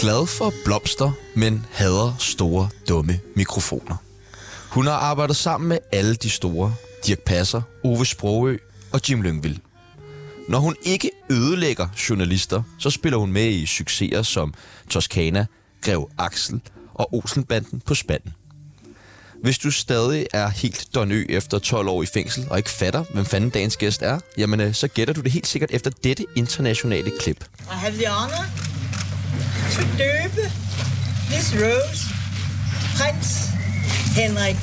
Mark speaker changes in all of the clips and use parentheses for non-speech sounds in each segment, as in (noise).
Speaker 1: glad for blomster, men hader store, dumme mikrofoner. Hun har arbejdet sammen med alle de store, Dirk Passer, Ove Sprogø og Jim Lyngvild. Når hun ikke ødelægger journalister, så spiller hun med i succeser som Toscana, Grev Axel og Olsenbanden på spanden. Hvis du stadig er helt donø efter 12 år i fængsel og ikke fatter, hvem fanden dagens gæst er, jamen øh, så gætter du det helt sikkert efter dette internationale klip.
Speaker 2: I have the honor to døbe Miss Rose, prins Henrik.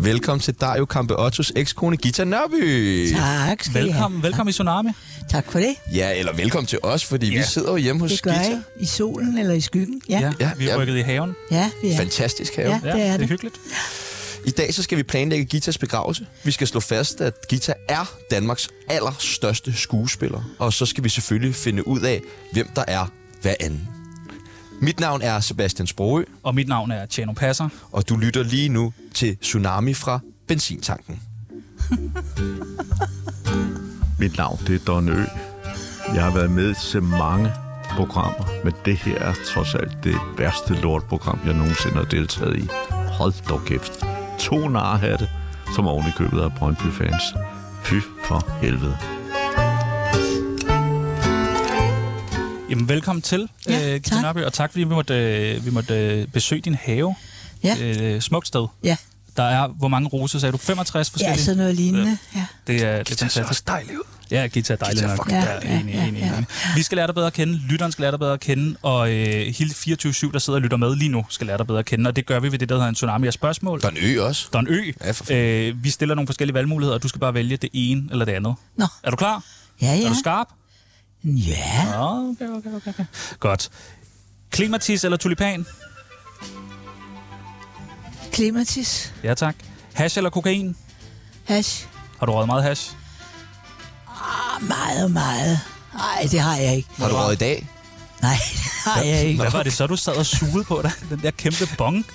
Speaker 1: Velkommen til Dario Kampe Ottos ekskone Gita Nørby.
Speaker 3: Tak skal I have.
Speaker 4: Velkommen, velkommen i Tsunami.
Speaker 3: Tak for det.
Speaker 1: Ja, eller velkommen til os, fordi ja. vi sidder jo hjemme hos
Speaker 3: Det gør
Speaker 1: Gita.
Speaker 3: jeg. I solen eller i skyggen. Ja, ja,
Speaker 4: Ja,
Speaker 1: Ja,
Speaker 4: vi
Speaker 1: ja.
Speaker 4: er rykket i haven.
Speaker 3: ja vi er.
Speaker 1: Fantastisk have.
Speaker 3: Ja.
Speaker 1: Ja.
Speaker 4: Ja,
Speaker 3: det er
Speaker 4: det
Speaker 3: det.
Speaker 4: er hyggeligt.
Speaker 1: I dag så skal vi planlægge Gitas begravelse. Vi skal slå fast, at Gita er Danmarks allerstørste skuespiller. Og så skal vi selvfølgelig finde ud af, hvem der er hvad anden. Mit navn er Sebastian Sprogø,
Speaker 4: Og mit navn er Tjano Passer.
Speaker 1: og du lytter lige nu til Tsunami fra Benzintanken.
Speaker 5: Mit navn det er Don Ø. Jeg har været med til mange programmer, men det her er trods alt det værste lortprogram, jeg nogensinde har deltaget i. Hold dog kæft. To narhatte, som oven i købet af Brøndby-fans. Fy for helvede.
Speaker 4: Jamen, velkommen til,
Speaker 3: Ja,
Speaker 4: øh, Gita
Speaker 3: tak.
Speaker 4: Nørby, og tak fordi vi måtte, øh, vi måtte øh, besøge din have.
Speaker 3: Ja.
Speaker 4: Øh, smukt sted.
Speaker 3: Ja.
Speaker 4: Der er, hvor mange roser sagde du? 65 forskellige?
Speaker 3: ja, altså- sådan noget lignende. Ja.
Speaker 4: Det er, det er fantastisk.
Speaker 1: dejligt ud.
Speaker 4: Ja, guitar er dejligt
Speaker 1: Guitar er
Speaker 4: nok.
Speaker 3: fucking
Speaker 4: Ja,
Speaker 3: dejligt.
Speaker 4: enig,
Speaker 3: Ja, ja,
Speaker 4: enig,
Speaker 3: ja,
Speaker 4: enig. Vi skal lære dig bedre at kende, lytteren skal lære dig bedre at kende, og øh, hele 24-7, der sidder og lytter med lige nu, skal lære dig bedre at kende, og det gør vi ved det, der hedder en tsunami af spørgsmål.
Speaker 1: Der er en ø også.
Speaker 4: Der er en ø.
Speaker 1: Ja, for
Speaker 4: Øh, vi stiller nogle forskellige valgmuligheder, og du skal bare vælge det ene eller det andet.
Speaker 3: Nå,
Speaker 4: Er du klar?
Speaker 3: ja, ja.
Speaker 4: Er du skarp?
Speaker 3: Ja,
Speaker 4: Nå, okay, okay, okay, okay. Godt. Klimatis eller tulipan?
Speaker 3: klimatis.
Speaker 4: Ja, tak. Hash eller kokain?
Speaker 3: Hash.
Speaker 4: Har du røget meget hash?
Speaker 3: Ah, meget, meget. Nej, det har jeg ikke.
Speaker 1: Har du røget i dag?
Speaker 3: Nej, (laughs) det har jeg ikke.
Speaker 4: Hvad var det så, du sad og sugede på dig? Den der kæmpe bong?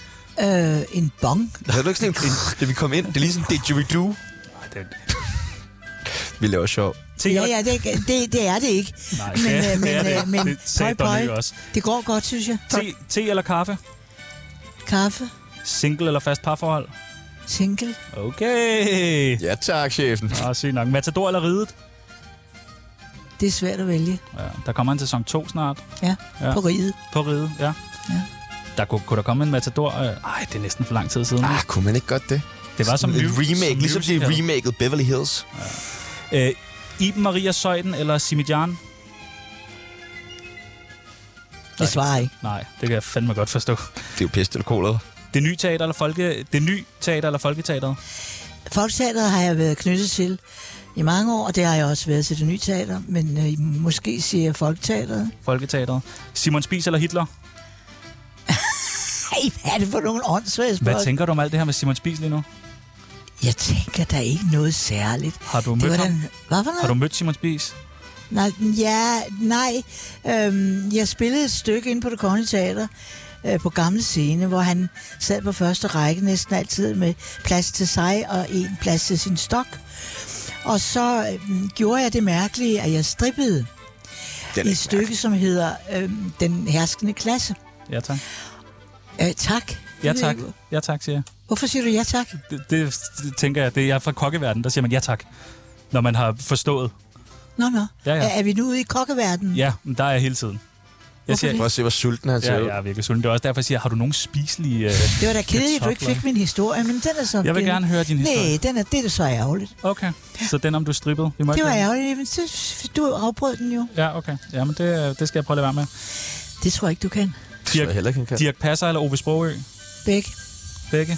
Speaker 3: Øh, en bong.
Speaker 1: Havde du ikke sådan (laughs) en, da vi kom ind? Det er lige sådan en didgeridoo.
Speaker 4: Ej, det-
Speaker 1: Vi laver sjov.
Speaker 4: Te
Speaker 3: Ja,
Speaker 4: eller-
Speaker 3: ja, det, er- det, det er det ikke.
Speaker 4: Nej,
Speaker 3: men,
Speaker 4: det-
Speaker 3: øh,
Speaker 4: det
Speaker 3: men,
Speaker 4: er det
Speaker 3: øh,
Speaker 4: ikke.
Speaker 3: men
Speaker 4: Det sagde
Speaker 3: pøj,
Speaker 4: Don
Speaker 3: pøj.
Speaker 4: Ø også.
Speaker 3: Det går godt, synes jeg.
Speaker 4: Te, te eller kaffe?
Speaker 3: Kaffe,
Speaker 4: Single eller fast parforhold?
Speaker 3: single,
Speaker 4: Okay.
Speaker 1: Ja tak, chefen.
Speaker 4: Nå, sygt nok. Matador eller ridet?
Speaker 3: det er svært at vælge.
Speaker 4: Ja, der kommer en sæson 2 snart
Speaker 3: Ja,
Speaker 4: Ja.
Speaker 3: ja. på riget.
Speaker 4: på ridet, ja.
Speaker 3: Ja.
Speaker 4: Der kunne, kunne der komme en Matador? øh, Ej, det er næsten for lang tid siden.
Speaker 1: Ah, kunne man ikke godt det?
Speaker 4: det var som
Speaker 1: en
Speaker 4: mu-
Speaker 1: remake,
Speaker 4: som
Speaker 1: ligesom de
Speaker 4: musical.
Speaker 1: remaket Beverly Hills.
Speaker 4: Øh, Iben Maria Søjden eller Simidjan?
Speaker 3: Jeg svarer ikke.
Speaker 4: Nej, det kan jeg fandme godt forstå.
Speaker 1: Det er jo pest eller kolder.
Speaker 4: Det nye teater eller, folke, det nye teater eller Folketeateret?
Speaker 3: Folketeateret har jeg været knyttet til i mange år, og det har jeg også været til det nye teater, men øh, måske siger jeg Folketeateret.
Speaker 4: Folketeateret. Simon Spies eller Hitler?
Speaker 3: Ej, hvad er det for nogle åndssvage
Speaker 4: Hvad
Speaker 3: spørgsmål?
Speaker 4: tænker du om alt det her med Simon Spies lige nu?
Speaker 3: Jeg tænker, der er ikke noget særligt.
Speaker 4: Har du
Speaker 3: Det
Speaker 4: mødt
Speaker 3: var
Speaker 4: ham?
Speaker 3: den... Hvad for
Speaker 4: Har
Speaker 3: noget?
Speaker 4: du mødt Simon Spies?
Speaker 3: Nej, ja, nej. Øhm, jeg spillede et stykke inde på det kongelige teater øh, på gamle scene, hvor han sad på første række næsten altid med plads til sig og en plads til sin stok. Og så øhm, gjorde jeg det mærkelige, at jeg strippede
Speaker 1: Den
Speaker 3: i et stykke, som hedder øhm, Den herskende klasse.
Speaker 4: Ja, tak.
Speaker 3: Øh, tak.
Speaker 4: Ja,
Speaker 3: Det-
Speaker 4: tak. Ja, tak, siger jeg.
Speaker 3: Hvorfor siger du ja tak?
Speaker 4: det, det, det tænker jeg, det er jeg er fra kokkeverdenen, der siger man ja tak, når man har forstået.
Speaker 3: Nå, nå.
Speaker 4: Ja, ja.
Speaker 3: Er, er vi nu ude i kokkeverdenen?
Speaker 4: Ja, men der er jeg hele tiden. Jeg
Speaker 3: Hvorfor
Speaker 4: siger,
Speaker 1: Prøv at se, hvor sulten han ser
Speaker 4: ja,
Speaker 1: ud.
Speaker 4: jeg er virkelig sulten. Det er også derfor, jeg siger, har du nogen spiselige... Øh...
Speaker 3: Det var da kedeligt, at du ikke
Speaker 4: Kartofler.
Speaker 3: fik min historie, men den er så...
Speaker 4: Jeg vil gerne høre din historie.
Speaker 3: Nej, den er, det er så ærgerligt.
Speaker 4: Okay, så den om du strippede. Vi må
Speaker 3: Det
Speaker 4: ikke
Speaker 3: var
Speaker 4: høre den.
Speaker 3: ærgerligt, men så, du afbrød den jo.
Speaker 4: Ja, okay. Ja, men det, øh, det skal jeg prøve at lade være med.
Speaker 3: Det tror jeg ikke, du kan.
Speaker 1: tror jeg heller ikke, han kan.
Speaker 4: Dirk Passer eller Ove Sprogø?
Speaker 3: Begge.
Speaker 4: Begge.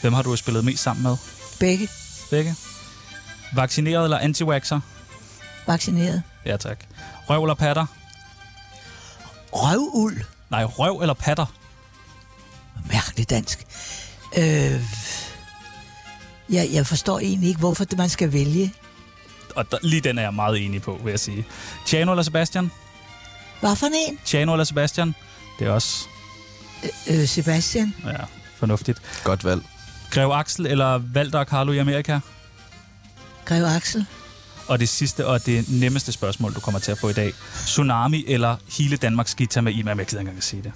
Speaker 4: Hvem har du spillet mest sammen med?
Speaker 3: Begge.
Speaker 4: Begge. Vaccineret eller antivaxer?
Speaker 3: Vaccineret.
Speaker 4: Ja, tak. Røv eller patter?
Speaker 3: Røvuld.
Speaker 4: Nej, røv eller patter?
Speaker 3: Mærkeligt dansk. Øh, jeg, jeg forstår egentlig ikke, hvorfor det, man skal vælge.
Speaker 4: Og der, lige den er jeg meget enig på, vil jeg sige. Tjano eller Sebastian?
Speaker 3: Hvad for en?
Speaker 4: Tjano eller Sebastian? Det er også
Speaker 3: Øh, Sebastian.
Speaker 4: Ja, fornuftigt.
Speaker 1: Godt valg.
Speaker 4: Grev Axel eller Walter og Carlo i Amerika?
Speaker 3: Grev Axel.
Speaker 4: Og det sidste og det nemmeste spørgsmål, du kommer til at få i dag. Tsunami eller hele Danmarks guitar med Imam? Jeg gider ikke engang at sige det.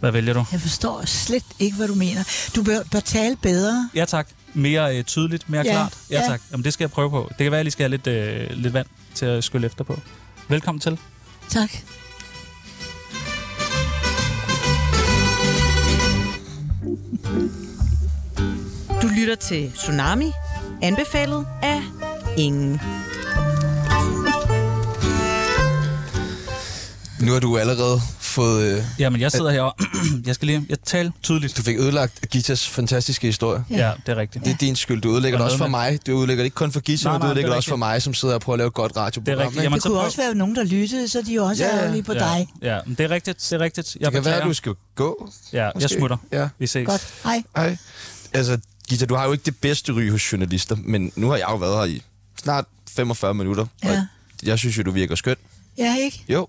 Speaker 4: Hvad vælger du?
Speaker 3: Jeg forstår slet ikke, hvad du mener. Du bør, bør tale bedre.
Speaker 4: Ja tak. Mere øh, tydeligt, mere
Speaker 3: Ja,
Speaker 4: klart. Ja,
Speaker 3: ja.
Speaker 4: tak. Jamen, det skal jeg prøve på. Det kan være, at jeg lige skal have lidt, øh, lidt vand til at skylle efter på. Velkommen til.
Speaker 3: Tak.
Speaker 6: Du lytter til Tsunami, anbefalet af ingen.
Speaker 1: Nu har du allerede fået... Øh,
Speaker 4: Jamen, jeg sidder her og... (clears throat) jeg skal lige... Jeg taler tydeligt.
Speaker 1: du fik ødelagt Gitas fantastiske historie.
Speaker 4: Ja, det er rigtigt.
Speaker 1: Det er din skyld. Du ødelægger det
Speaker 4: Og
Speaker 1: også for
Speaker 4: noget
Speaker 1: mig. Du ødelægger det ikke kun for Gita,
Speaker 4: Nej,
Speaker 1: men du
Speaker 4: nej,
Speaker 1: ødelægger det
Speaker 4: det er
Speaker 1: også for
Speaker 4: rigtigt.
Speaker 1: mig, som sidder og prøver at lave et godt radioprogram.
Speaker 4: rigtigt.
Speaker 1: ikke?
Speaker 4: Jamen,
Speaker 3: Det
Speaker 4: så
Speaker 3: kunne
Speaker 4: prøv-
Speaker 3: også være nogen, der lyttede, så de også
Speaker 1: Ja,
Speaker 3: er
Speaker 1: ja.
Speaker 3: ærgerlige på
Speaker 4: ja,
Speaker 3: dig.
Speaker 4: Ja, men det er rigtigt. Det er rigtigt. Jeg
Speaker 1: Det kan være, at
Speaker 4: beklager.
Speaker 1: du skal gå.
Speaker 4: Ja, jeg
Speaker 1: måske.
Speaker 4: smutter.
Speaker 1: Ja.
Speaker 4: Vi ses.
Speaker 3: Godt. Hej.
Speaker 1: Hej. Altså, Gita, du har jo ikke det bedste ry hos journalister, men nu har jeg jo været her i snart 45 minutter. og
Speaker 3: Ja.
Speaker 1: Jeg synes jo, du virker skøn.
Speaker 3: Ja, ikke?
Speaker 1: Jo.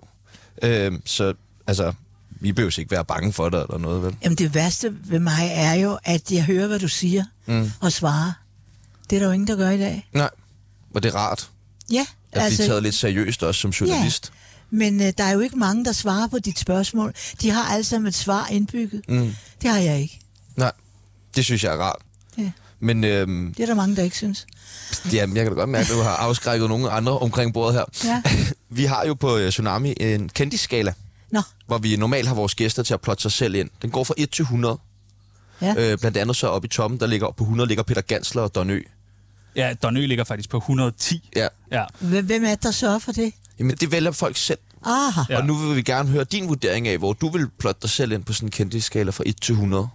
Speaker 1: Øhm, så, altså, vi behøver ikke være bange for dig eller noget, vel?
Speaker 3: Jamen det værste ved mig er jo, at jeg hører, hvad du siger mm. og svarer. Det er der jo ingen, der gør i dag.
Speaker 1: Nej. Og det er rart
Speaker 3: Ja,
Speaker 1: at altså, blive taget lidt seriøst også som journalist.
Speaker 3: Ja. Men øh, der er jo ikke mange, der svarer på dit spørgsmål. De har alle sammen et svar indbygget. Mm. Det har jeg ikke.
Speaker 1: Nej. Det synes jeg er rart.
Speaker 3: Ja.
Speaker 1: Men øhm,
Speaker 3: Det er der mange, der ikke synes.
Speaker 1: Jamen, jeg kan da godt mærke, at du har afskrækket nogle andre omkring bordet her.
Speaker 3: Ja.
Speaker 1: (laughs) Vi har jo på øh, Tsunami en kendisskala,
Speaker 3: Nå,
Speaker 1: hvor vi normalt har vores gæster til at plotte sig selv ind. Den går fra 1 til 100.
Speaker 3: ja. Øh.
Speaker 1: Øh, blandt andet så oppe i toppen, der ligger på 100, ligger Peter Gansler og Don Ø.
Speaker 4: Ja, Don Ø ligger faktisk på 110.
Speaker 1: Ja.
Speaker 4: Ja.
Speaker 3: Hvem er det, der sørger for det?
Speaker 1: Jamen, det vælger folk selv.
Speaker 3: Aha.
Speaker 4: Ja.
Speaker 1: Ja. Og nu vil vi gerne høre din vurdering af, hvor du vil plotte dig selv ind på sådan en kendisskala fra 1 til 100.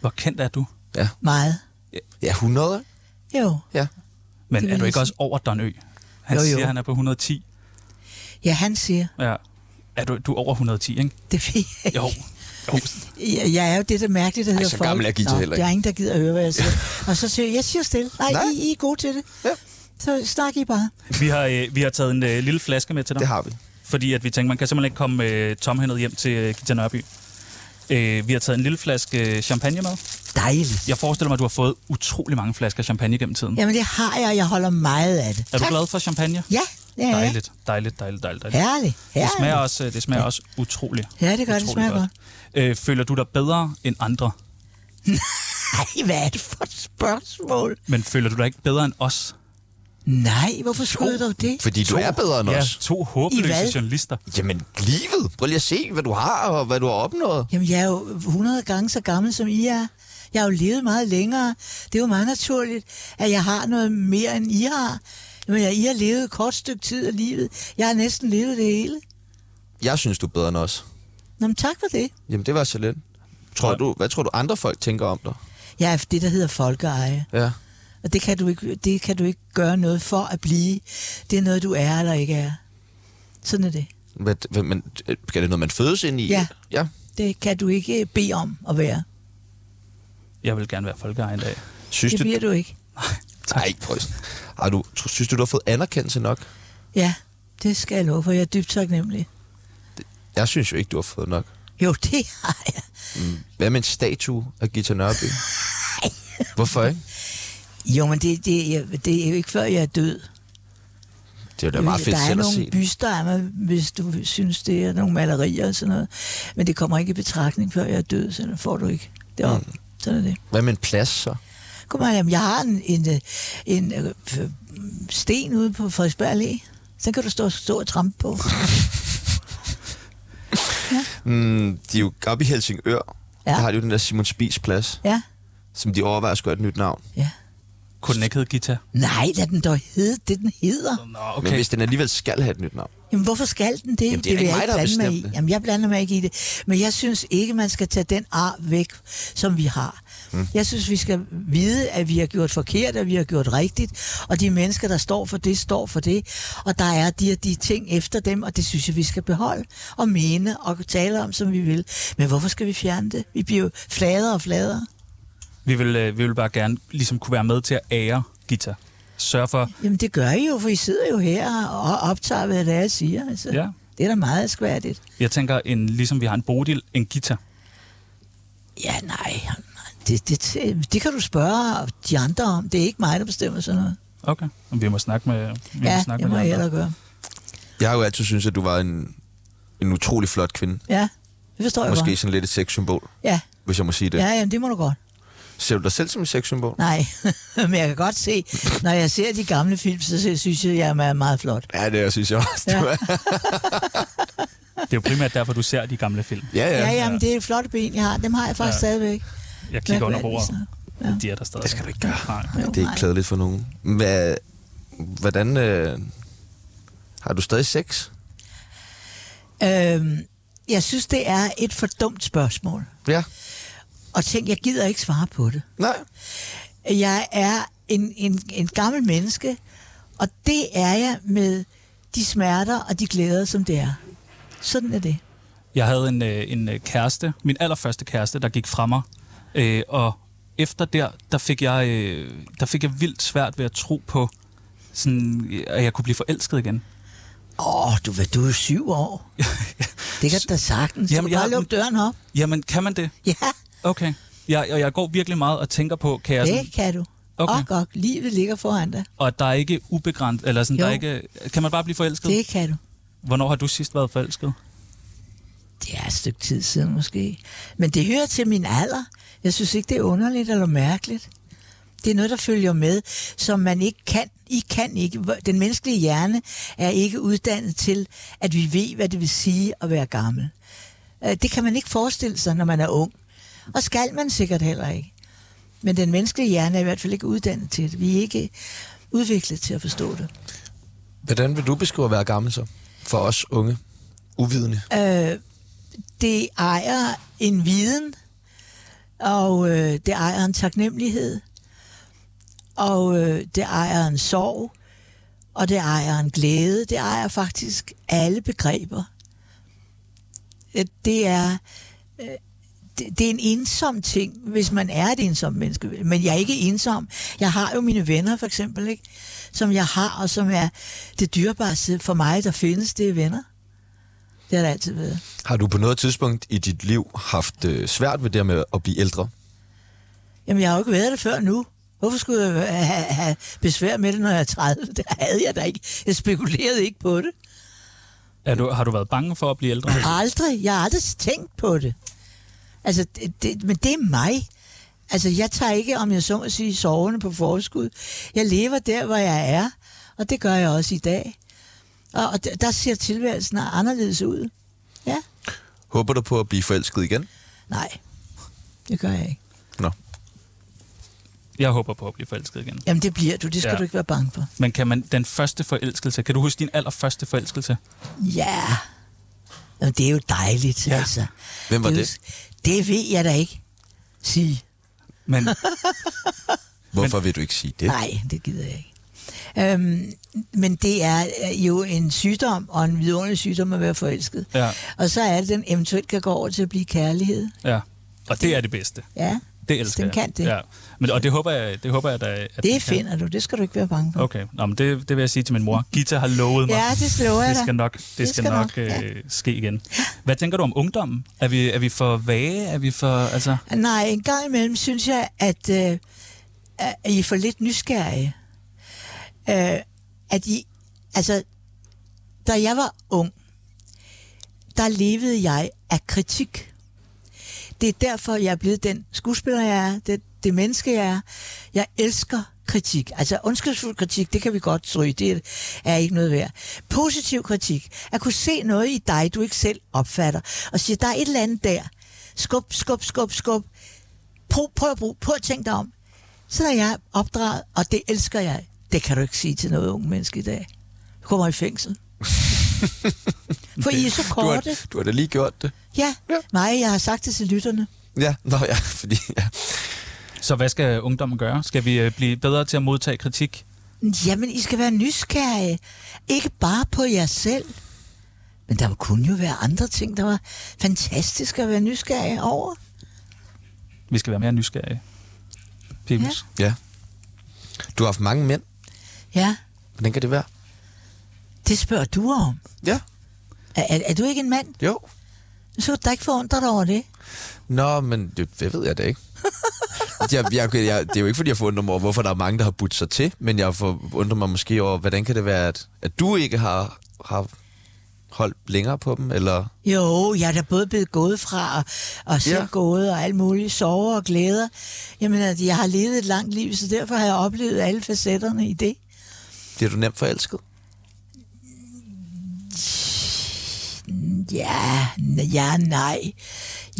Speaker 4: Hvor kendt er du?
Speaker 1: Ja,
Speaker 3: Meget.
Speaker 1: ja 100, ikke?
Speaker 3: Jo.
Speaker 1: Ja.
Speaker 4: Men
Speaker 3: Det vil
Speaker 4: er du
Speaker 3: jeg
Speaker 4: ikke
Speaker 3: sige.
Speaker 4: også over Don Ø? Han
Speaker 3: Jo,
Speaker 4: jo,
Speaker 3: jo.
Speaker 4: jo. siger, han er på 110.
Speaker 3: Ja, han siger.
Speaker 4: Ja. Er du, du er over 110, ikke?
Speaker 3: Det fik jeg (laughs) ikke.
Speaker 4: Jo. jo.
Speaker 3: Jeg, jeg er jo det, der mærkeligt, der hedder
Speaker 1: så
Speaker 3: folk.
Speaker 1: gammel er Gita
Speaker 3: Nå,
Speaker 1: heller ikke.
Speaker 3: Der er ingen, der gider at høre, hvad jeg siger. Og så siger jeg, jeg siger stille. Nej,
Speaker 1: Nej.
Speaker 3: Nej. I, I er gode til det.
Speaker 1: Ja.
Speaker 3: Så snak I bare.
Speaker 4: Vi har, øh, vi har taget en øh, lille flaske med til dig.
Speaker 1: Det har vi.
Speaker 4: Fordi at vi tænkte, man kan simpelthen ikke komme øh, tomhændet hjem til øh, Gita Nørby. Øh, vi har taget en lille flaske øh, champagne med.
Speaker 3: Dejligt.
Speaker 4: Jeg forestiller mig, at du har fået utrolig mange flasker champagne gennem tiden.
Speaker 3: Jamen, det har jeg, og jeg holder meget af det.
Speaker 4: Er du glad for champagne?
Speaker 3: Ja, det er jeg.
Speaker 4: Dejligt, dejligt, dejligt, dejligt. dejligt.
Speaker 3: Herligt.
Speaker 4: Det
Speaker 3: herligt.
Speaker 4: smager også, øh, det smager også utrolig.
Speaker 3: Ja, det gør det.
Speaker 4: utrolig
Speaker 3: Smager
Speaker 4: godt. Øh, føler du dig bedre end andre?
Speaker 3: Ej, hvad er det for et spørgsmål?
Speaker 4: Men føler du dig ikke bedre end os?
Speaker 3: Nej, hvorfor skyder du det?
Speaker 1: Fordi du er bedre end
Speaker 4: ja,
Speaker 1: os.
Speaker 4: to håbløse
Speaker 3: I hvad?
Speaker 4: journalister.
Speaker 1: Jamen, livet. Prøv lige at se, hvad du har og hvad du har opnået.
Speaker 3: Jamen, jeg er jo 100 gange så gammel, som I er. Jeg har jo levet meget længere. Det er jo meget naturligt, at jeg har noget mere, end I har. Men I har levet et kort stykke tid af livet. Jeg har næsten levet det hele.
Speaker 1: Jeg synes, du er bedre end os.
Speaker 3: Nå, men tak for det.
Speaker 1: Jamen, det var så lidt. Tror du, hvad tror du, andre folk tænker om dig?
Speaker 3: Jeg er det, der hedder folkeeje.
Speaker 1: Ja.
Speaker 3: Og det kan, du ikke, det kan du ikke gøre noget for at blive. Det er noget, du er eller ikke er. Sådan er det.
Speaker 1: Hvad, hvad, men, øh, skal det noget, man fødes ind i?
Speaker 3: Ja.
Speaker 1: ja.
Speaker 3: Det kan du ikke øh, bede om at være.
Speaker 4: Jeg vil gerne være folkeejer en dag.
Speaker 1: Synes
Speaker 3: Det
Speaker 1: du...
Speaker 3: bliver du ikke.
Speaker 1: Nej, prøv. Har du, tro- synes du, du har fået anerkendelse nok?
Speaker 3: Ja, det skal jeg love for. Jeg er dybt taknemmelig.
Speaker 1: Jeg synes jo ikke, du har fået nok.
Speaker 3: Jo, det har jeg.
Speaker 1: Hvad med en statue af Gita Nørby? Hvorfor ikke?
Speaker 3: Jo, men det, det, jeg, det er jo ikke før, jeg er død.
Speaker 1: Det er jo da meget fedt
Speaker 3: der er
Speaker 1: selv at
Speaker 3: nogle
Speaker 1: se. det.
Speaker 3: byster af mig, hvis du synes, det er nogle malerier og sådan noget. Men det kommer ikke i betragtning, før jeg er død, så den får du ikke deroppe. Mm. Sådan er det.
Speaker 1: Hvad med en plads så?
Speaker 3: Kom her, jamen, jeg har en, en, øh, en, øh, f- sten ude på Frederiksberg Allé. Så kan du stå, stå og trampe på.
Speaker 1: Mm, de er jo oppe i Helsingør.
Speaker 3: Ja.
Speaker 1: Der har de jo den der Simon Spies plads,
Speaker 3: Ja,
Speaker 1: som de overvejer at skulle have et nyt navn.
Speaker 3: ja.
Speaker 4: Kunne den ikke hedde Gita?
Speaker 3: Nej, lad den dog hedde det, den hedder.
Speaker 4: Nå,
Speaker 1: Okay. Men hvis den alligevel skal have et nyt navn.
Speaker 3: Jamen, hvorfor skal den det?
Speaker 1: Jamen, det er da
Speaker 3: vil
Speaker 1: ikke
Speaker 3: jeg
Speaker 1: mig, der har
Speaker 3: blande mig
Speaker 1: bestemt
Speaker 3: i.
Speaker 1: det.
Speaker 3: Jamen, jeg blander mig ikke i det. Men jeg synes ikke, man skal tage den arv væk, som vi har. Mm. Jeg synes, vi skal vide, at vi har gjort forkert, at vi har gjort rigtigt, og de mennesker, der står for det, står for det. Og der er de og de ting efter dem, og det synes jeg, vi skal beholde og mene og tale om, som vi vil. Men hvorfor skal vi fjerne det? Vi bliver jo fladere og fladere.
Speaker 4: Vi vil, øh, vi vil bare gerne ligesom kunne være med til at ære Gita. Sørge for...
Speaker 3: Jamen, det gør I jo, for I sidder jo her og optager, hvad det er, jeg siger. Altså,
Speaker 4: Ja.
Speaker 3: Det er da meget skværdigt.
Speaker 4: Jeg tænker, en, ligesom vi har en Bodil, en Gita.
Speaker 3: Ja, nej. Det, det, det kan du spørge de andre om. Det er ikke mig, der bestemmer sådan noget.
Speaker 4: Okay. Men Vi må snakke med, vi
Speaker 3: ja,
Speaker 4: må snakke
Speaker 3: det må
Speaker 4: med de
Speaker 3: jeg
Speaker 4: andre.
Speaker 3: hellere gøre.
Speaker 1: Jeg har jo altid syntes, at du var en, en utrolig flot kvinde.
Speaker 3: Ja, det forstår jeg
Speaker 1: Måske
Speaker 3: godt.
Speaker 1: sådan lidt et sexsymbol,
Speaker 3: Ja,
Speaker 1: hvis jeg må sige det.
Speaker 3: ja jamen, det må du godt.
Speaker 1: Ser du dig selv som et sexsymbol?
Speaker 3: Nej, (laughs) men jeg kan godt se, når jeg ser de gamle film, så synes jeg, at jeg er meget flot.
Speaker 1: Ja, det synes jeg også. Ja,
Speaker 3: (laughs)
Speaker 4: Det er jo primært derfor, du ser de gamle film.
Speaker 1: ja.
Speaker 3: Ja,
Speaker 1: ja, ja.
Speaker 3: jamen, det er flotte ben, jeg har. Dem har jeg faktisk
Speaker 4: Ja.
Speaker 3: ja. stadigvæk.
Speaker 4: Jeg kigger
Speaker 3: Hvad-
Speaker 4: under
Speaker 3: hvad er
Speaker 4: bordet.
Speaker 3: det
Speaker 4: Ja. De er der stadig. Det skal du ikke gøre. Nej.
Speaker 3: Jo,
Speaker 1: Det er ikke
Speaker 3: nej.
Speaker 1: klædeligt for nogen. Hvad, hvordan... Øh, har du stadig sex?
Speaker 3: Øhm, jeg synes, det er et for dumt spørgsmål.
Speaker 1: Ja.
Speaker 3: Og tænk, jeg gider ikke svare på det.
Speaker 1: Nej.
Speaker 3: Jeg er en, en, en gammel menneske, og det er jeg med de smerter og de glæder, som det er. Sådan er det.
Speaker 4: Jeg havde en, øh, en øh, kæreste, min allerførste kæreste, der gik fra mig. Øh, og efter der, der fik, jeg, øh, der fik jeg vildt svært ved at tro på, sådan, øh, at jeg kunne blive forelsket igen.
Speaker 3: Åh, du, hvad, du er syv (laughs) år. Det kan du da sagtens.
Speaker 4: Jamen,
Speaker 3: Jamen,
Speaker 4: jeg
Speaker 3: jeg bare
Speaker 4: har-
Speaker 3: lukke døren op.
Speaker 4: Jamen, kan man det?
Speaker 3: Ja,
Speaker 4: Okay. Jeg, og jeg går virkelig meget og tænker på, kan jeg sådan,
Speaker 3: det kan du.
Speaker 4: Okay.
Speaker 3: Okay. Og godt, livet ligger foran dig.
Speaker 4: og at der er ikke ubegrænset, eller sådan,
Speaker 3: Jo.
Speaker 4: der er ikke, kan man bare blive forelsket?
Speaker 3: Det kan du.
Speaker 4: Hvornår har du sidst været forelsket?
Speaker 3: Det er et stykke tid siden måske. Men det hører til min alder. Jeg synes ikke, det er underligt eller mærkeligt. Det er noget, der følger med, som man ikke kan. I kan ikke. Den menneskelige hjerne er ikke uddannet til, at vi ved, hvad det vil sige at være gammel. Øh, Det kan man ikke forestille sig, når man er ung. Og skal man sikkert heller ikke. Men den menneskelige hjerne er i hvert fald ikke uddannet til det. Vi er ikke udviklet til at forstå det.
Speaker 1: Hvordan vil du beskrive at være gammel så? For os unge. Uvidende.
Speaker 3: øh, det ejer en viden, og øh, det ejer en taknemmelighed, og øh, det ejer en sorg, og det ejer en glæde. Det ejer faktisk alle begreber. Øh, Det er, øh, det, det er en ensom ting, hvis man er et ensomt menneske. Men jeg er ikke ensom. Jeg har jo mine venner, for eksempel, ikke? som jeg har, og som er det dyrebareste for mig, der findes, det er venner. Det har det altid været.
Speaker 1: Har du på noget tidspunkt i dit liv haft øh, svært ved det med at blive ældre?
Speaker 3: Jamen, jeg har jo ikke været det før nu. Hvorfor skulle jeg have, have besvær med det, når jeg er 30? (laughs) Det havde jeg da ikke. Jeg spekulerede ikke på det.
Speaker 4: Er du, har du været bange for at blive ældre?
Speaker 3: Aldrig. Jeg har aldrig tænkt på det. Altså, det, det, men det er mig. Altså, jeg tager ikke, om jeg så må sige, sovende på forskud. Jeg lever der, hvor jeg er, og det gør jeg også i dag. Og, og der- der ser tilværelsen anderledes ud. Ja?
Speaker 1: Håber du på at blive forelsket igen?
Speaker 3: Nej, det gør jeg ikke.
Speaker 1: Nå.
Speaker 4: Jeg håber på at blive forelsket igen.
Speaker 3: Jamen, det bliver du. Det skal
Speaker 4: Ja.
Speaker 3: ja. du ikke være bange for.
Speaker 4: Men kan man den første forelskelse, kan du huske din allerførste forelskelse?
Speaker 3: Ja. Jamen, det er jo dejligt,
Speaker 4: Ja.
Speaker 3: ja. altså.
Speaker 1: Hvem var
Speaker 3: er jo
Speaker 1: det?
Speaker 3: s- Det ved jeg da ikke. Sige.
Speaker 4: (laughs) Men
Speaker 1: Hvorfor vil du ikke sige det?
Speaker 3: Nej, det gider jeg ikke. Øhm, men det er øh, jo en sygdom, og en vidunderlig sygdom at være forelsket.
Speaker 4: Ja.
Speaker 3: Og så er det, den eventuelt kan gå over til at blive kærlighed.
Speaker 4: ja, og det er det bedste.
Speaker 3: Ja,
Speaker 4: Det elsker
Speaker 3: Den
Speaker 4: jeg.
Speaker 3: kan det.
Speaker 4: Ja. Men, og det håber jeg, det håber jeg da, at den
Speaker 3: det finder du. Det skal du ikke være bange for.
Speaker 4: Kan. Okay, Nå, men det, det vil jeg sige til min mor. Gita har lovet mig.
Speaker 3: Ja, det slår jeg
Speaker 4: det skal
Speaker 3: dig.
Speaker 4: nok, det skal
Speaker 3: skal
Speaker 4: nok,
Speaker 3: nok, ja.
Speaker 4: øh, ske igen. Hvad tænker du om ungdommen? Er vi, er vi for vage? Er vi for, altså,
Speaker 3: Nej, en gang imellem synes jeg, at, øh, at I er for lidt nysgerrige. Øh, at I, altså, da jeg var ung, der levede jeg af kritik. Det er derfor, jeg er blevet den skuespiller, jeg er, det, det menneske, jeg er. Jeg elsker kritik. Altså ondskabsfuld kritik, det kan vi godt stryge, det er ikke noget værd. Positiv kritik, at kunne se noget i dig, du ikke selv opfatter, og sige, der er et eller andet der. Skub, skub, skub, skub. Prøv, prøv at bruge, prøv at tænke dig om. Sådan er jeg opdraget, og det elsker jeg. Det kan du ikke sige til noget unge menneske i dag. Du kommer i
Speaker 1: (laughs)
Speaker 3: fængsel. For I er så
Speaker 1: Du
Speaker 3: korte.
Speaker 1: har, du har da lige gjort det.
Speaker 3: Ja, ja. nej, jeg har sagt det til lytterne.
Speaker 1: Ja, nå ja, (laughs) fordi... Ja.
Speaker 4: så hvad skal ungdommen gøre? Skal vi øh, blive bedre til at modtage kritik?
Speaker 3: Jamen, I skal være nysgerrige. Ikke bare på jer selv. Men der kunne jo være andre ting, der var fantastiske at være nysgerrige over.
Speaker 4: Vi skal være mere nysgerrige. Pibus.
Speaker 1: ja. Du har haft mange mænd.
Speaker 3: Ja,
Speaker 1: Hvordan kan det være?
Speaker 3: det spørger du om.
Speaker 1: Ja.
Speaker 3: Er, er, er du ikke en mand?
Speaker 1: Jo.
Speaker 3: Så kan du da ikke forundre dig over det. (laughs)
Speaker 1: Nå, men det, det ved jeg da ikke. jeg, jeg, jeg, det er jo ikke, fordi jeg forundrer mig over, hvorfor der er mange, der har budt sig til, men jeg forundrer mig måske over, hvordan kan det være, at, at du ikke har, har holdt længere på dem, eller...
Speaker 3: Jo, jeg er da både blevet gået fra og, og selv
Speaker 1: Ja.
Speaker 3: gået og alt muligt, sover og glæder. Jamen, at jeg har levet et langt liv, så derfor har jeg oplevet alle facetterne i det.
Speaker 1: Bliver du nemt forelsket?
Speaker 3: Ja, n- ja, nej.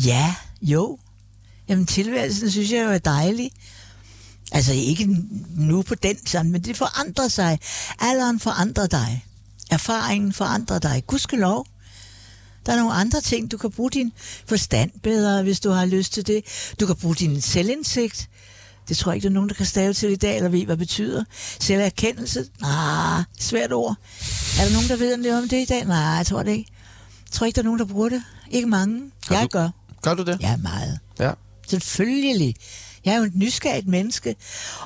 Speaker 3: Ja, jo. Jamen, tilværelsen synes jeg jo er dejlig. Altså, ikke n- nu på den sådan, men det forandrer sig. Alderen forandrer dig. Erfaringen forandrer dig. Gudskelov. Der er nogle andre ting. Du kan bruge din forstand bedre, hvis du har lyst til det. Du kan bruge din selvindsigt. Det tror jeg ikke, der er nogen, der kan stave til i dag, eller ved, hvad det betyder. Selverkendelse? Ah, svært ord. Er der nogen, der ved noget om det i dag? Nej, jeg tror det ikke. Jeg tror ikke, der er nogen, der bruger det. Ikke mange.
Speaker 1: Har
Speaker 3: jeg
Speaker 1: du-
Speaker 3: gør.
Speaker 1: Gør du det?
Speaker 3: Jeg er meget.
Speaker 1: Ja.
Speaker 3: Selvfølgelig. Jeg er jo et nysgerrigt menneske.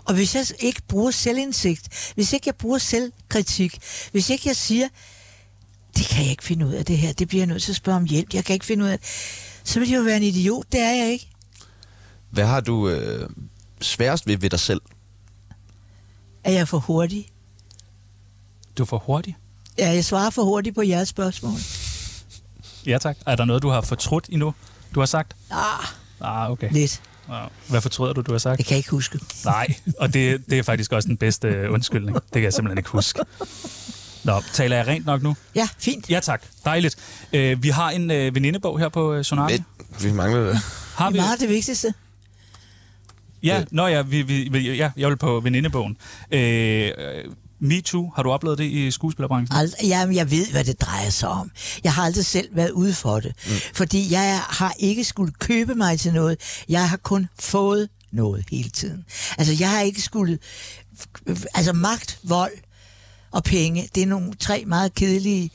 Speaker 3: Og hvis jeg ikke bruger selvindsigt, hvis ikke jeg bruger selvkritik, hvis ikke jeg siger, det kan jeg ikke finde ud af det her, det bliver jeg nødt til at spørge om hjælp, jeg kan ikke finde ud af det, så vil jeg jo være en idiot, det er jeg ikke.
Speaker 1: Hvad har du øh, sværest ved ved dig selv?
Speaker 3: Er jeg for hurtig?
Speaker 4: Du er for hurtig.
Speaker 3: Ja, jeg svarer for hurtigt på jeres spørgsmål.
Speaker 4: Ja tak. Er der noget, du har fortrudt endnu, du har sagt?
Speaker 3: Ah,
Speaker 4: Ah, okay.
Speaker 3: lidt.
Speaker 4: Ah, Hvad fortryder du, du har
Speaker 3: (laughs)
Speaker 4: sagt?
Speaker 3: Det kan jeg ikke huske.
Speaker 4: Nej, og det, det er faktisk også den bedste øh, undskyldning. Det kan jeg simpelthen ikke huske. Nå, taler jeg rent nok nu?
Speaker 3: Ja, fint.
Speaker 4: Ja tak, dejligt. Øh, vi har en øh, venindebog her på øh, Tsunami.
Speaker 1: Men, vi mangler det.
Speaker 4: Har
Speaker 3: Det
Speaker 4: vi?
Speaker 3: er meget det vigtigste.
Speaker 4: Ja, nå ja, vi, vi, vi, ja, jeg vil på venindebogen. Øh, Me Too, har du oplevet det i skuespillerbranchen?
Speaker 3: Ald- Jamen, jeg ved, hvad det drejer sig om. Jeg har aldrig selv været ude for det. Mm. Fordi jeg er- har ikke skulle købe mig til noget. Jeg har kun fået noget hele tiden. Altså, jeg har ikke skulle... Altså, magt, vold og penge, det er nogle tre meget kedelige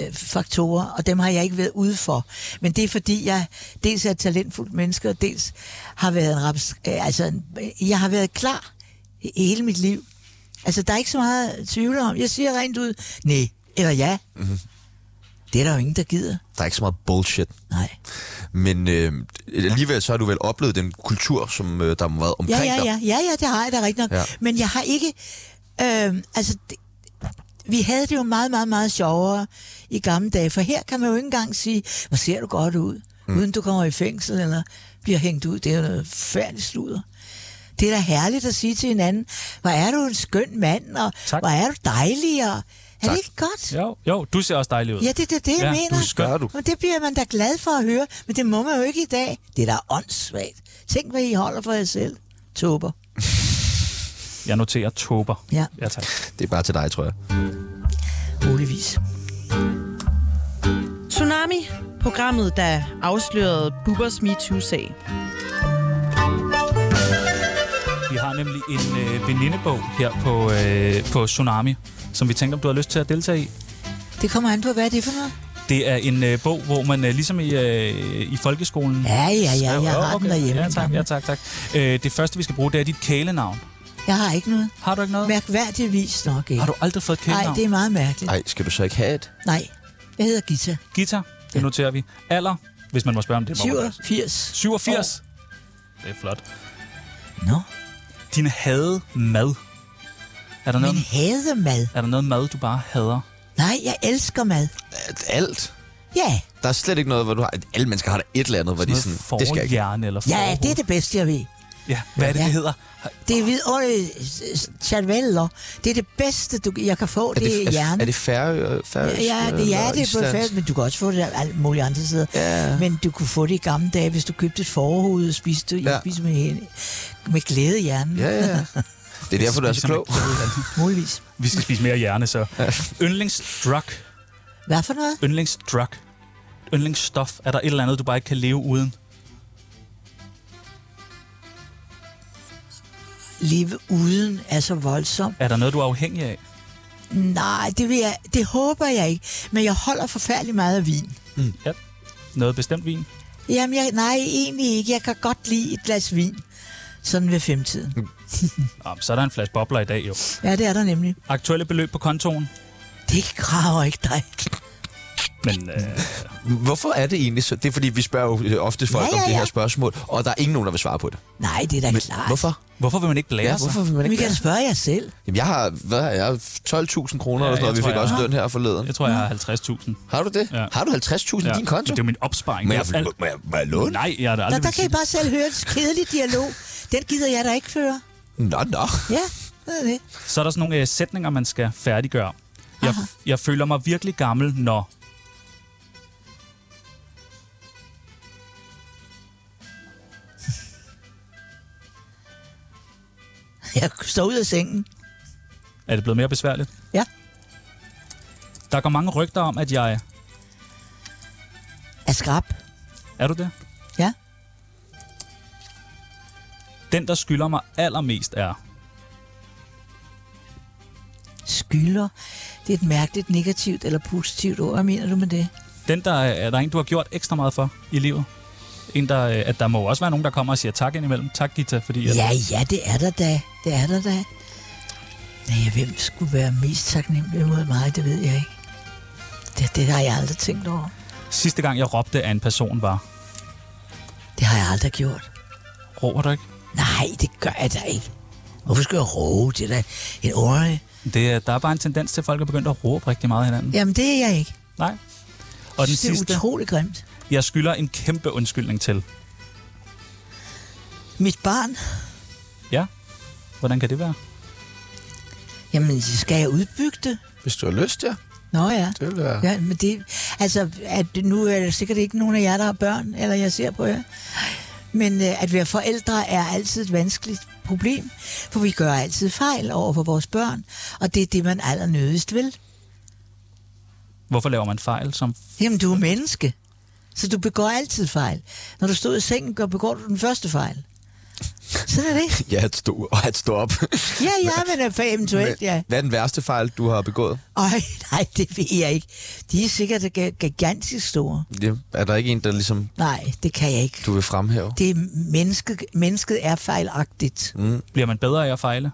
Speaker 3: øh, faktorer, og dem har jeg ikke været ude for. Men det er fordi, jeg dels er et talentfuldt menneske, og dels har været en raps, øh, altså, en- jeg har været klar i hele mit liv. Altså, der er ikke så meget tvivl om. Jeg siger rent ud, nej, eller ja. Mm-hmm. Det er der jo ingen, der gider.
Speaker 1: Der er ikke så meget bullshit.
Speaker 3: Nej.
Speaker 1: Men øh, alligevel så har du vel oplevet den kultur, som øh, der har været
Speaker 3: Ja,
Speaker 1: omkring
Speaker 3: ja,
Speaker 1: dig.
Speaker 3: ja, ja, ja, det har jeg da rigtigt nok.
Speaker 1: Ja.
Speaker 3: Ja. Men jeg har ikke... Øh, altså, det, vi havde det jo meget, meget, meget sjovere i gamle dage, for her kan man jo ikke engang sige, hvor ser du godt ud, mm. uden du kommer i fængsel eller bliver hængt ud. Det er jo noget færdigt sludder. Det er da herligt at sige til hinanden, hvor er du en skøn mand, og
Speaker 4: Tak.
Speaker 3: hvor er du dejlig, og er det ikke godt?
Speaker 4: Jo, jo, du ser også dejlig ud.
Speaker 3: Ja, det er da det, jeg
Speaker 4: Ja,
Speaker 3: mener.
Speaker 4: du er skør,
Speaker 1: du.
Speaker 3: Men det bliver man da glad for at høre, men det må man jo ikke i dag. Det er da åndssvagt. Tænk, hvad I holder for jer selv. Tober.
Speaker 4: Jeg noterer tober.
Speaker 3: Ja.
Speaker 4: ja tak.
Speaker 1: Det er bare til dig, tror jeg.
Speaker 3: Muligvis.
Speaker 6: Tsunami, programmet, der afslørede Bubbers MeToo-sag.
Speaker 4: Vi har nemlig en øh, venindebog her på, øh, på Tsunami, som vi tænkte, om du har lyst til at deltage i.
Speaker 3: Det kommer an på, hvad er det for noget?
Speaker 4: Det er en øh, bog, hvor man øh, ligesom i, øh, i folkeskolen...
Speaker 3: Ja, ja, ja, jeg
Speaker 4: Åh,
Speaker 3: har den derhjemme.
Speaker 4: Ja, tak, ja, tak, tak. Øh, det første, vi skal bruge, det er dit kælenavn.
Speaker 3: Jeg har ikke noget.
Speaker 4: Har du ikke noget?
Speaker 3: Mærkværdigvis nok ikke.
Speaker 4: Har du aldrig fået et
Speaker 3: Nej,
Speaker 4: kælenavn?
Speaker 3: det er meget mærkeligt.
Speaker 1: Nej, skal du så ikke have et?
Speaker 3: Nej, jeg hedder Gita.
Speaker 4: Guitar, det noterer vi. Alder, hvis man må spørge om det. må man godt.
Speaker 3: 87.
Speaker 4: 87. Det er flot.
Speaker 3: Nå,
Speaker 4: Din hade mad. Er der, noget,
Speaker 3: men hader mad.
Speaker 4: er der noget mad, du bare hader?
Speaker 3: Nej, jeg elsker mad.
Speaker 1: Alt.
Speaker 3: Ja,
Speaker 1: Der er slet ikke noget, hvor du har... Alle mennesker har da et eller andet, hvor de sådan... Det skal jeg ikke.
Speaker 4: forhjerne eller
Speaker 3: ja,
Speaker 4: forhoved.
Speaker 3: det er det bedste, jeg ved.
Speaker 4: Ja, hvad er det,
Speaker 3: Ja.
Speaker 4: det hedder?
Speaker 3: Det er vidunderlige øh, charveller. Det er det bedste, du, jeg kan få, det, det er
Speaker 1: er,
Speaker 3: hjerne.
Speaker 1: er det færø, færøsk?
Speaker 3: Ja, det, ja,
Speaker 1: eller
Speaker 3: det er på
Speaker 1: islandsk?
Speaker 3: færdigt, men du kan også få det alt muligt andre steder. Ja. Men du kunne få det i gamle dage, hvis du købte et forhoved og spiste, det.
Speaker 1: Ja.
Speaker 3: jeg spiste med, hæn- med glæde i hjernen.
Speaker 1: Ja, ja, ja. Det er derfor, du er så
Speaker 4: Spiser
Speaker 1: klog.
Speaker 4: man-
Speaker 3: Muligvis.
Speaker 4: Vi skal spise mere hjerne, så. Yndlingsdrug.
Speaker 3: Hvad for noget?
Speaker 4: Yndlingsdrug. Yndlingsstof. Er der et eller andet, du bare ikke kan leve uden?
Speaker 3: Live uden er så voldsomt.
Speaker 4: Er der noget, du er afhængig af?
Speaker 3: Nej, det, vil jeg, det håber jeg ikke. Men jeg holder forfærdelig meget af vin.
Speaker 4: Ja. Noget bestemt vin?
Speaker 3: Jamen, jeg, nej, egentlig ikke. Jeg kan godt lide et glas vin. Sådan ved femtiden.
Speaker 1: Mm.
Speaker 4: Nå, men så er der en flaske bobler i dag, jo.
Speaker 3: Ja, det er der nemlig.
Speaker 4: Aktuelle beløb på kontoen?
Speaker 3: Det graver ikke dig.
Speaker 4: Men øh,
Speaker 1: (laughs) Hvorfor er det egentlig så? Det er fordi, vi spørger jo øh, ofte folk ja,
Speaker 3: Ja,
Speaker 1: ja,
Speaker 3: ja,
Speaker 1: ja. om det
Speaker 3: ja.
Speaker 1: her spørgsmål, og der er ingen nogen, der vil svare på det.
Speaker 3: Nej, det er da klart.
Speaker 1: Hvorfor?
Speaker 4: hvorfor vil man ikke blære
Speaker 1: Ja,
Speaker 4: sig?
Speaker 1: hvorfor vil man
Speaker 3: Men vi
Speaker 1: ikke
Speaker 3: kan da spørge jer selv.
Speaker 1: Jamen, jeg har, hvad har jeg, 12.000 kroner ja,
Speaker 4: Ja,
Speaker 1: eller sådan noget. Vi
Speaker 4: jeg tror,
Speaker 1: fik
Speaker 4: jeg
Speaker 1: også
Speaker 4: har.
Speaker 1: løn her forleden.
Speaker 4: Jeg tror, jeg har 50.000.
Speaker 1: Har du det?
Speaker 4: Ja.
Speaker 1: Har du 50.000 i din konto?
Speaker 4: Det er jo min opsparing.
Speaker 1: Må
Speaker 4: Det
Speaker 1: jeg,
Speaker 4: er
Speaker 1: må, må, jeg, må jeg låne?
Speaker 4: Nej, jeg har da
Speaker 3: Nå,
Speaker 4: aldrig
Speaker 3: der
Speaker 4: ville
Speaker 3: kan I bare
Speaker 4: sige
Speaker 3: selv høre en kedelig dialog. Den gider jeg da ikke føre.
Speaker 1: Nå, nå.
Speaker 3: Ja, det er det.
Speaker 4: det. Så er der sådan nogle øh, sætninger, man skal færdiggøre. Jeg, jeg føler mig virkelig gammel, når...
Speaker 3: Jeg står ud af sengen.
Speaker 4: Er det blevet mere besværligt?
Speaker 3: Ja.
Speaker 4: Der går mange rygter om, at jeg...
Speaker 3: Er skrab.
Speaker 4: Er du det?
Speaker 3: Ja.
Speaker 4: Den, der skylder mig allermest, er...
Speaker 3: Skylder. Det er et mærkeligt negativt eller positivt ord. Hvad mener du med det?
Speaker 4: Den, der øh, er der en, du har gjort ekstra meget for i livet. En, der, øh, at der må jo også være nogen, der kommer og siger tak indimellem. Tak, Gita, fordi... at-
Speaker 3: Ja, ja, det er der da. Det er der da. Nej, hvem skulle være mest taknemmelig mod mig, det ved jeg ikke. Det, det har jeg aldrig tænkt over.
Speaker 4: Sidste gang, jeg råbte af en person, var...
Speaker 3: Det har jeg aldrig gjort.
Speaker 4: Råber du ikke?
Speaker 3: Nej, det gør jeg da ikke. Hvorfor skal jeg roe? Det er da en ordentlig...
Speaker 4: Det, er- der er bare en tendens til, at folk er begyndt at råbe rigtig meget af hinanden.
Speaker 3: Jamen, det er jeg ikke.
Speaker 4: Nej. Og den
Speaker 3: det er
Speaker 4: sidste,
Speaker 3: utrolig grimt.
Speaker 4: jeg skylder en kæmpe undskyldning til.
Speaker 3: Mit barn,
Speaker 4: Ja? Hvordan kan det være?
Speaker 3: jamen, skal jeg udbygge det?
Speaker 1: Hvis du har lyst, ja.
Speaker 3: Nå ja.
Speaker 1: Det vil være...
Speaker 3: Ja, men det, altså, at nu er det sikkert ikke nogen af jer, der har børn, eller jeg ser på jer. Men øh, at være forældre er altid et vanskeligt problem, for vi gør altid fejl over for vores børn, og det er det, man allernødigst vil.
Speaker 4: Hvorfor laver man fejl? Som...
Speaker 3: Jamen, du er menneske, så du begår altid fejl. Når du står i sengen, gør- begår du den første fejl. Sådan er det.
Speaker 1: Ja, at stå, og at stå op.
Speaker 3: Ja, (laughs) ja, men øh, for eventuelt, ja.
Speaker 1: Hvad er den værste fejl, du har begået?
Speaker 3: Øj, nej, det ved jeg ikke. De er sikkert ga- gigantisk store.
Speaker 1: Ja. Er der ikke en, der ligesom,
Speaker 3: Nej, det kan jeg ikke.
Speaker 1: du vil fremhæve?
Speaker 3: Det er mennesket, mennesket er fejlagtigt.
Speaker 4: Bliver man bedre af at fejle?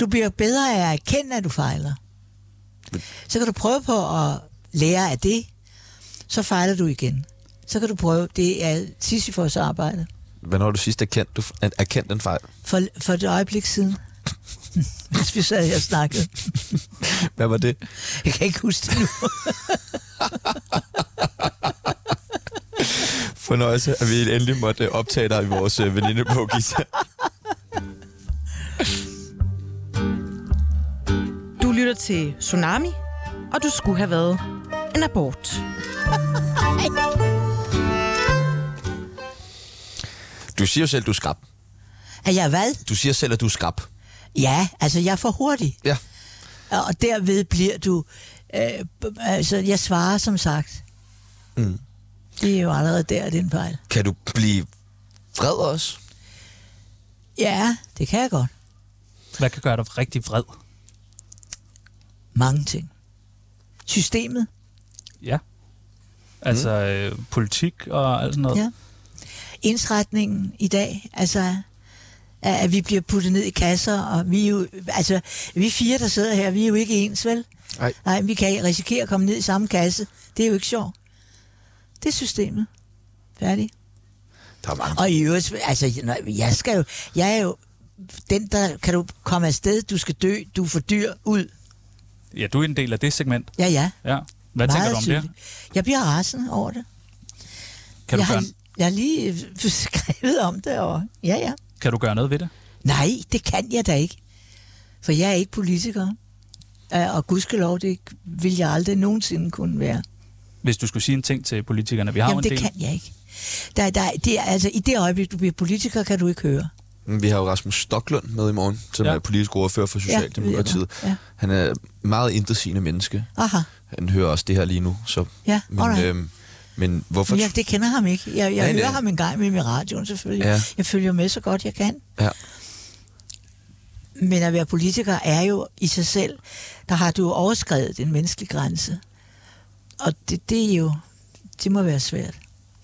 Speaker 3: Du bliver bedre af at erkende, at du fejler. Så kan du prøve på at lære af det, så fejler du igen. Så kan du prøve, det er Sisyfos arbejde,
Speaker 1: Hvornår har du sidst erkendt, du, er- erkendt en fejl?
Speaker 3: for, for et øjeblik siden, (laughs) mens vi sad her og snakkede.
Speaker 1: Hvad var det?
Speaker 3: Jeg kan ikke huske det nu.
Speaker 1: Fornøjelse, at vi endelig måtte øh, optage dig i vores øh, venindebog, Gita.
Speaker 6: Du lytter til Tsunami, og du skulle have været en abort.
Speaker 1: Du siger jo selv, du er skrab.
Speaker 3: Er jeg hvad?
Speaker 1: Du siger selv, at du er skrab.
Speaker 3: Ja, altså jeg er for hurtig.
Speaker 1: Ja.
Speaker 3: Og derved bliver du... Øh, b- altså, jeg svarer som sagt. Mm. Det er jo allerede der, det er en fejl.
Speaker 1: Kan du blive vred også?
Speaker 3: Ja, det kan jeg godt.
Speaker 4: Hvad kan gøre dig rigtig vred?
Speaker 3: Mange ting. Systemet,
Speaker 4: Ja. Altså øh, politik og alt sådan noget.
Speaker 3: Mm. Ja. indsretningen i dag, altså at at vi bliver puttet ned i kasser, og vi er jo, altså, vi fire, der sidder her, vi er jo ikke ens, vel?
Speaker 1: Nej.
Speaker 3: Nej, vi kan risikere at komme ned i samme kasse. Det er jo ikke sjovt. Det er systemet. Færdig.
Speaker 1: Der er mange.
Speaker 3: Og i øvrigt, altså, når- jeg skal jo, jeg er jo den, der kan du komme afsted, du skal dø, du er for dyr, ud.
Speaker 4: ja, du er en del af det segment.
Speaker 3: Ja, ja.
Speaker 4: Ja. Hvad tænker du om det?
Speaker 3: tydeligt. Jeg bliver rasende over det.
Speaker 4: Kan du,
Speaker 3: jeg,
Speaker 4: gøre,
Speaker 3: har, jeg har lige øh, (laughs) skrevet om det, og ja, ja.
Speaker 4: kan du gøre noget ved det?
Speaker 3: Nej, det kan jeg da ikke. For jeg er ikke politiker. Øh, Og gudskelov, det vil jeg aldrig nogensinde kunne være.
Speaker 4: Hvis du skulle sige en ting til politikerne. Vi har jo
Speaker 3: Jamen,
Speaker 4: en
Speaker 3: det
Speaker 4: del.
Speaker 3: kan jeg ikke. Der, der, det er, altså, I det øjeblik, du bliver politiker, kan du ikke høre.
Speaker 1: Mm, Vi har jo Rasmus Stoklund med i morgen, som
Speaker 4: Ja.
Speaker 1: ja. er politisk ordfører for
Speaker 3: ved jeg
Speaker 1: Socialdemokratiet.
Speaker 3: godt.
Speaker 1: Ja,
Speaker 3: Ja.
Speaker 1: ja. Han er meget intetsigende menneske.
Speaker 3: Aha,
Speaker 1: Han hører også det her lige nu. Så,
Speaker 3: Ja,
Speaker 1: men,
Speaker 3: alright.
Speaker 1: øhm, men hvorfor...
Speaker 3: men jeg, det kender ham ikke. Jeg, jeg
Speaker 1: Nej,
Speaker 3: hører
Speaker 1: nej.
Speaker 3: ham en gang med i radioen, selvfølgelig.
Speaker 1: Ja.
Speaker 3: Jeg følger med så godt, jeg kan.
Speaker 1: Ja.
Speaker 3: Men at være politiker er jo i sig selv, der har du overskrevet en menneskelig grænse. Og det, det er jo, det må være svært.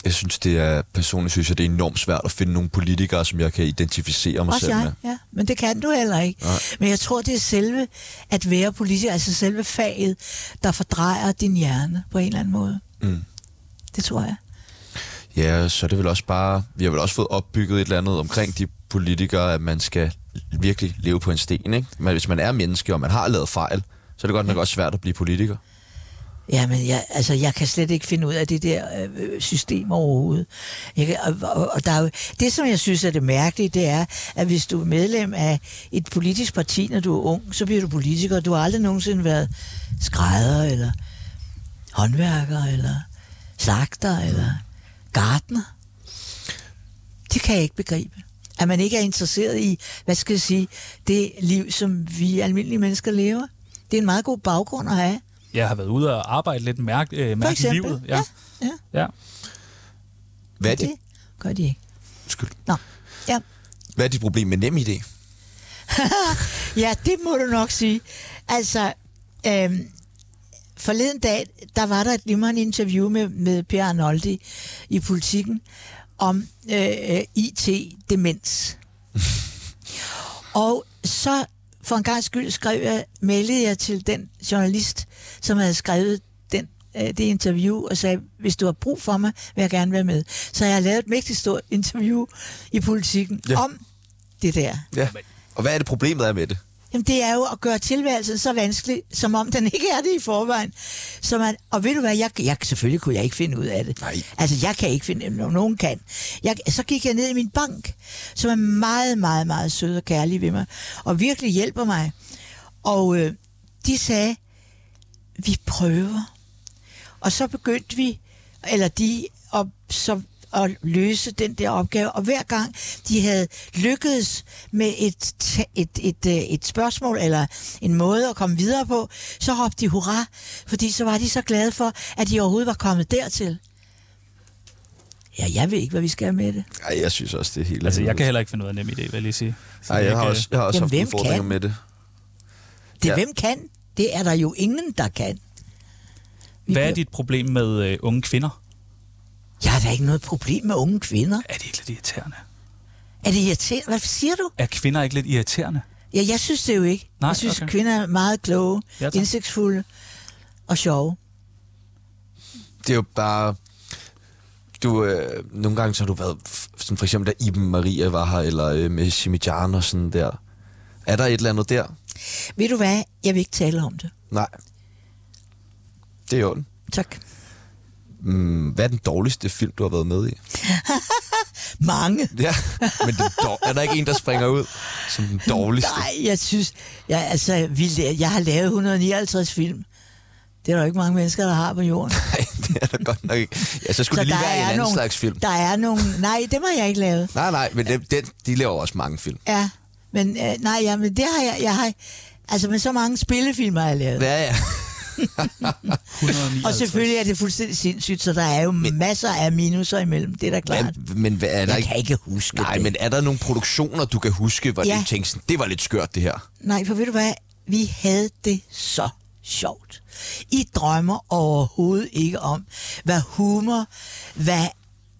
Speaker 1: Jeg synes, det er, personligt synes jeg, det er enormt svært at finde nogle politikere, som jeg kan identificere mig
Speaker 3: Også
Speaker 1: selv
Speaker 3: jeg,
Speaker 1: med.
Speaker 3: ja. men det kan du heller ikke. Nej. Men jeg tror, det er selve at være politiker, altså selve faget, der fordrejer din hjerne på en eller anden måde.
Speaker 1: Mm.
Speaker 3: Det tror jeg.
Speaker 1: Ja, så er det vel også bare... Vi har vel også fået opbygget et eller andet omkring de politikere, at man skal virkelig leve på en sten, ikke? Men hvis man er menneske, og man har lavet fejl, så er det godt nok også svært at blive politiker.
Speaker 3: Jamen, jeg, altså, jeg kan slet ikke finde ud af det der øh, system overhovedet. Jeg kan, og, og, og der er jo, det, som jeg synes er det mærkelige, det er, at hvis du er medlem af et politisk parti, når du er ung, så bliver du politiker. Du har aldrig nogensinde været skrædder, eller håndværker, eller slagter, eller gartner. Det kan jeg ikke begribe. At man ikke er interesseret i, hvad skal jeg sige, det liv, som vi almindelige mennesker lever. Det er en meget god baggrund at have.
Speaker 4: Jeg har været ude og arbejde lidt, mærke, øh,
Speaker 3: For
Speaker 4: mærke
Speaker 3: eksempel.
Speaker 4: livet.
Speaker 3: Ja, ja.
Speaker 4: ja.
Speaker 1: Hvad er
Speaker 3: Det
Speaker 1: dit,
Speaker 3: gør de ikke.
Speaker 1: undskyld,
Speaker 3: Nå, ja.
Speaker 1: hvad er dit problem med nem idé?
Speaker 3: Ja, det må du nok sige. Altså, øhm, forleden dag, der var der et glimrende interview med, med Per Arnoldi i Politiken om øh, IT-demens. Og så for en gang skyld skrev jeg, meldede jeg til den journalist, som havde skrevet den, øh, det interview, og sagde, hvis du har brug for mig, vil jeg gerne være med. Så jeg har lavet et mægtigt stort interview i politikken
Speaker 1: Ja.
Speaker 3: ja. om det der.
Speaker 1: Ja. Og hvad er det problemet er med det?
Speaker 3: Jamen, det er jo at gøre tilværelsen så vanskelig, som om den ikke er det i forvejen. Så man, og ved du hvad, jeg, jeg, selvfølgelig kunne jeg ikke finde ud af det.
Speaker 1: Nej.
Speaker 3: Altså, jeg kan ikke finde, no- nogen kan. Jeg, så gik jeg ned i min bank, som er meget, meget, meget sød og kærlig ved mig, og virkelig hjælper mig. Og øh, de sagde, vi prøver. Og så begyndte vi, eller de, at, så, at løse den der opgave. Og hver gang de havde lykkedes med et, ta- et, et, øh, et spørgsmål eller en måde at komme videre på, så råbte de hurra, fordi så var de så glade for, at de overhovedet var kommet dertil. Ja, jeg ved ikke, hvad vi skal med det.
Speaker 1: Ej, jeg synes også, det er helt...
Speaker 4: Altså, jeg kan heller ikke finde ud af nem idé, vil jeg lige sige. Så
Speaker 1: Ej, jeg har
Speaker 4: kan-
Speaker 1: også, jeg har også
Speaker 3: Jamen,
Speaker 1: haft
Speaker 3: hvem
Speaker 1: udfordringer
Speaker 3: kan?
Speaker 1: med det.
Speaker 3: Det
Speaker 1: Ja.
Speaker 3: ja. hvem kan? Det er der jo ingen, der kan. Vi
Speaker 4: øh, Hvad er
Speaker 3: bliver-
Speaker 4: dit problem med øh, unge kvinder?
Speaker 3: Jeg har da ikke noget problem med unge kvinder.
Speaker 4: Er det ikke lidt irriterende?
Speaker 3: Er det irriterende? Hvad siger du?
Speaker 4: Er kvinder ikke lidt irriterende?
Speaker 3: Ja, jeg synes det jo ikke.
Speaker 4: Nej,
Speaker 3: jeg synes,
Speaker 4: okay.
Speaker 3: okay. kvinder er meget kloge,
Speaker 4: Ja,
Speaker 3: ja,
Speaker 4: tak.
Speaker 3: indsigtsfulde og sjove.
Speaker 1: det er jo bare... Du, øh, nogle gange så har du været, f- sådan for eksempel da Iben Maria var her, eller øh, med Simijan og sådan der. Er der et eller andet der?
Speaker 3: Ved du hvad? Jeg vil ikke tale om det.
Speaker 1: Nej. Det er i orden.
Speaker 3: Tak.
Speaker 1: Mm, hvad er den dårligste film, du har været
Speaker 4: (laughs)
Speaker 1: med i?
Speaker 3: Mange.
Speaker 1: Ja, men den dår- er der ikke en, der springer ud som den dårligste?
Speaker 3: Nej, jeg synes... Jeg, altså, vi, la- jeg har lavet 159 film. Det er der jo ikke mange mennesker, der har på
Speaker 1: (laughs)
Speaker 3: jorden.
Speaker 1: (laughs) Nej, det er der godt nok ikke. Ja, så skulle så det lige være en anden
Speaker 3: nogle,
Speaker 1: slags film.
Speaker 3: Der er nogle... Nej, dem har jeg ikke lavet.
Speaker 1: Nej, nej, men dem, den, de laver også mange film.
Speaker 3: Ja, men øh, nej, ja, men det har jeg... jeg har, altså, men så mange spillefilm har jeg lavet.
Speaker 1: Ja, ja.
Speaker 4: 159.
Speaker 3: (laughs) Og selvfølgelig er det fuldstændig sindssygt, så der er jo men, masser af minuser imellem. Det er da klart.
Speaker 1: Men, men hvad er der
Speaker 3: Jeg
Speaker 1: ikke...
Speaker 3: kan ikke huske
Speaker 1: Nej,
Speaker 3: det.
Speaker 1: men er der nogle produktioner, du kan huske, hvor ja.
Speaker 3: Ja.
Speaker 1: du tænkte sådan, det var lidt skørt, det her?
Speaker 3: Nej, for ved du hvad? Vi havde det så sjovt. I drømmer overhovedet ikke om, hvad humor, hvad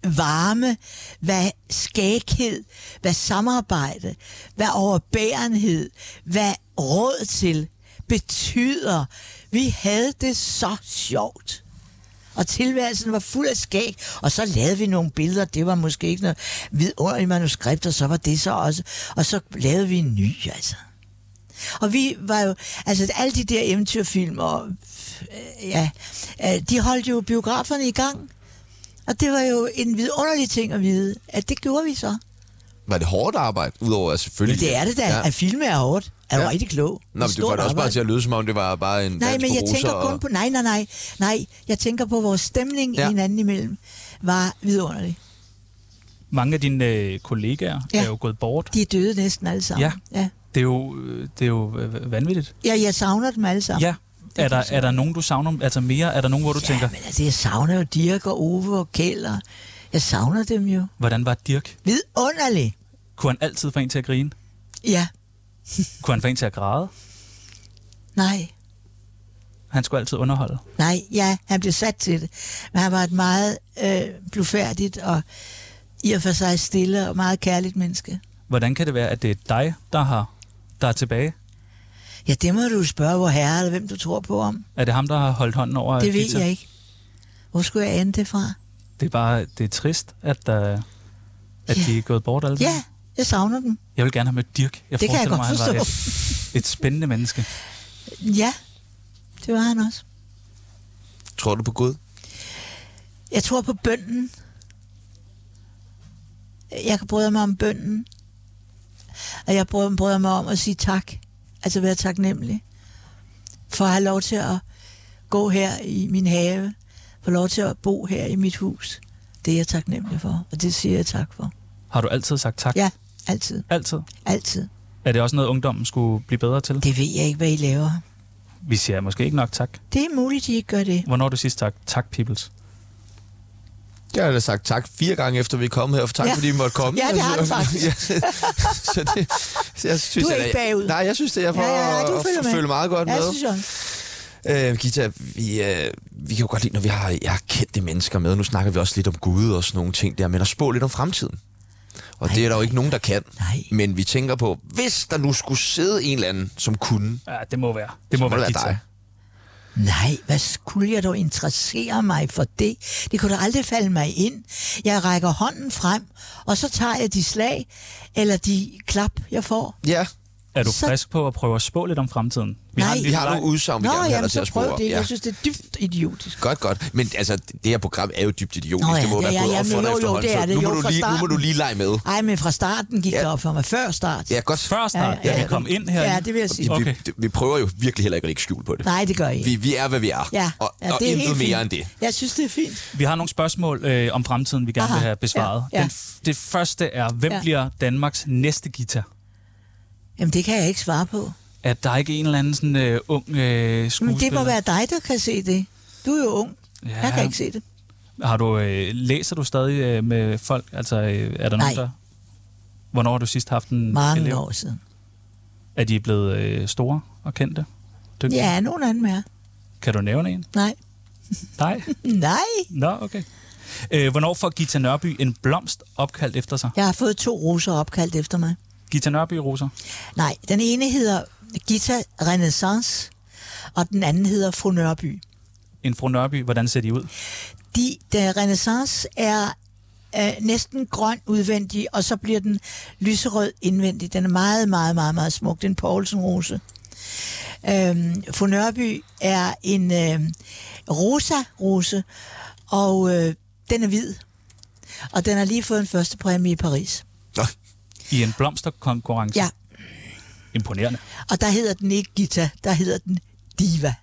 Speaker 3: varme, hvad skæghed, hvad samarbejde, hvad overbærenhed, hvad råd til betyder. Vi havde det så sjovt. Og tilværelsen var fuld af skæg, og så lavede vi nogle billeder, det var måske ikke noget vidunderligt manuskript, og så var det så også. Og så lavede vi en ny, altså. Og vi var jo, altså alle de der eventyrfilm, og øh, ja, øh, de holdt jo biograferne i gang. Og det var jo en vidunderlig ting at vide, at det gjorde vi så.
Speaker 1: Var det hårdt arbejde? Udover at selvfølgelig...
Speaker 3: Det er det da, ja. at filme er hårdt. Er du
Speaker 1: Ja.
Speaker 3: rigtig klog?
Speaker 1: Nå, men det var da også bare til at lyde, som om det var bare en
Speaker 3: Nej,
Speaker 1: dans
Speaker 3: men jeg
Speaker 1: roser
Speaker 3: tænker kun
Speaker 1: og-
Speaker 3: på... Nej, nej, nej. Nej, jeg tænker på, at vores stemning
Speaker 1: Ja.
Speaker 3: ja. hinanden imellem var vidunderlig.
Speaker 4: Mange af dine øh, kollegaer ja.
Speaker 3: Ja.
Speaker 4: er jo gået bort.
Speaker 3: De er døde næsten alle sammen.
Speaker 4: Ja.
Speaker 3: Ja,
Speaker 4: Det er jo, øh, det er jo øh, vanvittigt.
Speaker 3: ja jeg savner dem alle sammen.
Speaker 4: Ja. Er der, er der nogen, du savner altså mere? Er der nogen, hvor du ja, tænker,
Speaker 3: ja men altså, jeg savner jo Dirk og Ove og Kjeld, og jeg savner dem jo.
Speaker 4: hvordan var Dirk?
Speaker 3: Vidunderligt.
Speaker 4: Kunne han altid få en til at grine?
Speaker 3: Ja,
Speaker 4: Kunne han få en til at græde?
Speaker 3: nej.
Speaker 4: Han skulle altid underholde.
Speaker 3: Nej, ja, han blev sat til det. Men han var et meget øh, blufærdigt og i og for sig stille og meget kærligt menneske.
Speaker 4: Hvordan kan det være, at det er dig, der, har, der er tilbage?
Speaker 3: Ja, det må du spørge vor herre, eller hvem du tror på om.
Speaker 4: Er det ham, der har holdt hånden over
Speaker 3: Det
Speaker 4: Gita?
Speaker 3: ved jeg ikke. Hvor skulle jeg ane det fra?
Speaker 4: Det er bare det er trist, at, der, at
Speaker 3: Ja.
Speaker 4: de er gået bort alle
Speaker 3: Ja,
Speaker 4: sammen.
Speaker 3: jeg savner dem.
Speaker 4: Jeg vil gerne have mødt Dirk. Jeg
Speaker 3: Det kan jeg
Speaker 4: forestiller
Speaker 3: godt
Speaker 4: mig, han var et, et spændende menneske.
Speaker 3: Ja, det var han også.
Speaker 1: Tror du på Gud?
Speaker 3: Jeg tror på bønden. Jeg kan bryde mig om bønden. Og jeg bryder, bryder mig om at sige tak. Altså være taknemmelig. For at have lov til at gå her i min have. For lov til at bo her i mit hus. Det er jeg taknemmelig for. Og det siger jeg tak for.
Speaker 4: Har du altid sagt tak?
Speaker 3: Ja, altid.
Speaker 4: Altid?
Speaker 3: Altid.
Speaker 4: Er det også noget, ungdommen skulle blive bedre til?
Speaker 3: Det ved jeg ikke, hvad I laver.
Speaker 4: Vi siger måske ikke nok tak.
Speaker 3: Det er muligt, de ikke gør det.
Speaker 4: Hvornår har du sidst tak? Tak, peoples.
Speaker 1: Jeg har da sagt tak fire gange, efter vi er kommet her, for tak,
Speaker 3: Ja.
Speaker 1: ja. fordi I måtte komme. Altså,
Speaker 3: Ja, det har du
Speaker 1: (laughs)
Speaker 3: faktisk.
Speaker 1: Ja, så det, så jeg synes,
Speaker 3: Du er
Speaker 1: jeg,
Speaker 3: ikke bagud.
Speaker 1: Nej, jeg synes, det er for
Speaker 3: Ja, ja, ja, du
Speaker 1: at
Speaker 3: følger med.
Speaker 1: følge meget godt
Speaker 3: Ja,
Speaker 1: med.
Speaker 3: jeg synes også.
Speaker 1: Øh, Gita, vi, øh, vi kan jo godt lide, når vi har, jeg har kendte mennesker med. Nu snakker vi også lidt om Gud og sådan nogle ting der, men at spå lidt om fremtiden. Og det er der jo ikke nogen, der kan.
Speaker 3: Nej.
Speaker 1: Men vi tænker på, hvis der nu skulle sidde en eller anden, som kunne,
Speaker 4: Ja, det må være. Det må,
Speaker 1: må det være
Speaker 4: Gita.
Speaker 1: dig.
Speaker 3: Nej, hvad skulle jeg dog interessere mig for det? Det kunne da aldrig falde mig ind. Jeg rækker hånden frem, og så tager jeg de slag, eller de klap, jeg får.
Speaker 1: Ja,
Speaker 4: Er du
Speaker 3: Så-
Speaker 4: frisk på at prøve at spå lidt om fremtiden? Vi
Speaker 3: Nej.
Speaker 4: har en
Speaker 1: vi
Speaker 4: lille
Speaker 1: har
Speaker 4: leg.
Speaker 1: nogle udsagn, vi
Speaker 3: Nå,
Speaker 1: gerne vil have
Speaker 3: jamen,
Speaker 1: dig til
Speaker 3: så
Speaker 1: at spore
Speaker 3: prøv
Speaker 1: op.
Speaker 3: det.
Speaker 1: Ja.
Speaker 3: Jeg synes, det er dybt idiotisk.
Speaker 1: Godt, godt. Men altså, det her program er jo dybt idiotisk.
Speaker 3: Nå ja,
Speaker 1: det må
Speaker 3: det
Speaker 1: være
Speaker 3: er-
Speaker 1: gået
Speaker 3: ja,
Speaker 1: op for
Speaker 3: jamen,
Speaker 1: dig
Speaker 3: jo, jo,
Speaker 1: efterhånden,
Speaker 3: det er
Speaker 1: så
Speaker 3: det
Speaker 1: nu, må
Speaker 3: jo
Speaker 1: du
Speaker 3: fra
Speaker 1: lige, nu må
Speaker 3: starten.
Speaker 1: du lige lege med.
Speaker 3: Ej, men fra starten gik ja.
Speaker 1: Ja.
Speaker 3: det op for mig. Før start.
Speaker 1: Ja, godt.
Speaker 4: Før snart, ja,
Speaker 3: Ja,
Speaker 4: ja,
Speaker 3: ja,
Speaker 4: ja.
Speaker 3: ja.
Speaker 4: kom ind her.
Speaker 3: ja det vil jeg sige.
Speaker 1: Vi,
Speaker 4: Okay.
Speaker 1: vi, vi prøver jo virkelig heller ikke at lægge skjul på det.
Speaker 3: Nej, det gør jeg
Speaker 1: Vi,
Speaker 3: ikke.
Speaker 1: vi er, hvad vi er.
Speaker 3: Ja,
Speaker 1: og,
Speaker 3: ja,
Speaker 1: og
Speaker 3: det er
Speaker 1: intet
Speaker 3: helt
Speaker 1: mere
Speaker 3: fint.
Speaker 1: end det.
Speaker 3: Jeg synes, det er fint.
Speaker 4: Vi har nogle spørgsmål øh, om fremtiden, vi gerne
Speaker 3: Aha,
Speaker 4: vil have besvaret.
Speaker 3: ja, ja.
Speaker 4: Den, f- det første er, hvem
Speaker 3: Ja.
Speaker 4: ja. bliver Danmarks næste guitar?
Speaker 3: Jamen, det kan jeg ikke svare på.
Speaker 4: Er der ikke en eller anden sådan, øh, ung øh, skuespiller?
Speaker 3: Men det må være dig, der kan se det. Du er jo ung. Ja. Jeg kan ikke se det.
Speaker 4: Har du, øh, læser du stadig øh, med folk? Altså, øh, er der
Speaker 3: Nej.
Speaker 4: nogen, der... Hvornår har du sidst haft en
Speaker 3: Mange
Speaker 4: elev?
Speaker 3: år siden.
Speaker 4: Er de blevet øh, store og kendte? Dygtige?
Speaker 3: Ja, nogen anden mere.
Speaker 4: Kan du nævne en?
Speaker 3: Nej.
Speaker 4: Nej?
Speaker 3: Nej.
Speaker 4: Nå, okay. Øh, hvornår får Gita Nørby en blomst opkaldt efter sig?
Speaker 3: Jeg har fået to roser opkaldt efter mig.
Speaker 4: Gita Nørby Roser.
Speaker 3: Nej, den ene hedder Gita Renaissance, og den anden hedder Fru Nørby.
Speaker 4: En fru Nørby, hvordan ser de ud?
Speaker 3: De, der Renaissance er øh, næsten grøn udvendig, og så bliver den lyserød indvendig. Den er meget, meget, meget, meget smuk. Det er en Poulsen-rose. Øhm, Fru Nørby er en øh, rosa-rose, og øh, den er hvid. Og den har lige fået en første præmie i Paris.
Speaker 1: Nå,
Speaker 4: I en blomsterkonkurrence?
Speaker 3: Ja,
Speaker 4: Imponerende.
Speaker 3: og der hedder den ikke Gita, der hedder den Diva.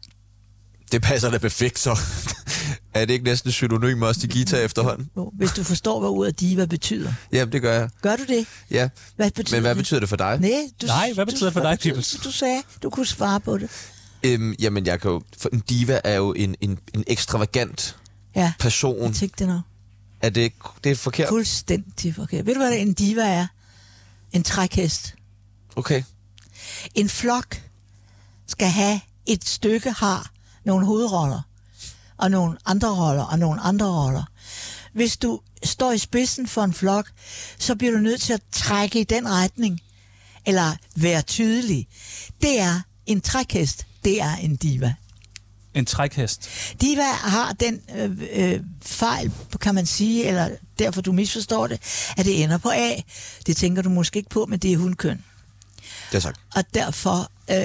Speaker 1: det passer da perfekt, så. (laughs) er det ikke næsten synonym også til guitar efterhånden?
Speaker 3: Jo, hvis du forstår, hvad ordet diva betyder.
Speaker 1: Jamen, det gør jeg.
Speaker 3: Gør du det?
Speaker 1: Ja.
Speaker 3: Hvad betyder
Speaker 1: Men hvad
Speaker 3: det?
Speaker 1: betyder det for dig?
Speaker 3: Nej, du,
Speaker 4: Nej, hvad betyder det for
Speaker 3: hvad
Speaker 4: dig,
Speaker 3: betyder-
Speaker 4: Pibels?
Speaker 3: Du sagde, du kunne svare på det.
Speaker 1: Øhm, jamen, jeg kan jo, for en diva er jo en, en, en ekstravagant
Speaker 3: Ja,
Speaker 1: person.
Speaker 3: jeg tænkte det nok.
Speaker 1: Er det, ikke- det er forkert?
Speaker 3: Fuldstændig forkert. Ved du, hvad en diva er? En trækhest.
Speaker 1: Okay.
Speaker 3: En flok skal have et stykke har nogle hovedroller, og nogle andre roller, og nogle andre roller. Hvis du står i spidsen for en flok, så bliver du nødt til at trække i den retning, eller være tydelig. Det er en trækhest, det er en diva.
Speaker 4: En trækhest.
Speaker 3: Diva har den øh, øh, fejl, kan man sige, eller derfor du misforstår det, at det ender på A. Det tænker du måske ikke på, men det er hundkøn.
Speaker 1: Det er sagt.
Speaker 3: Og derfor øh,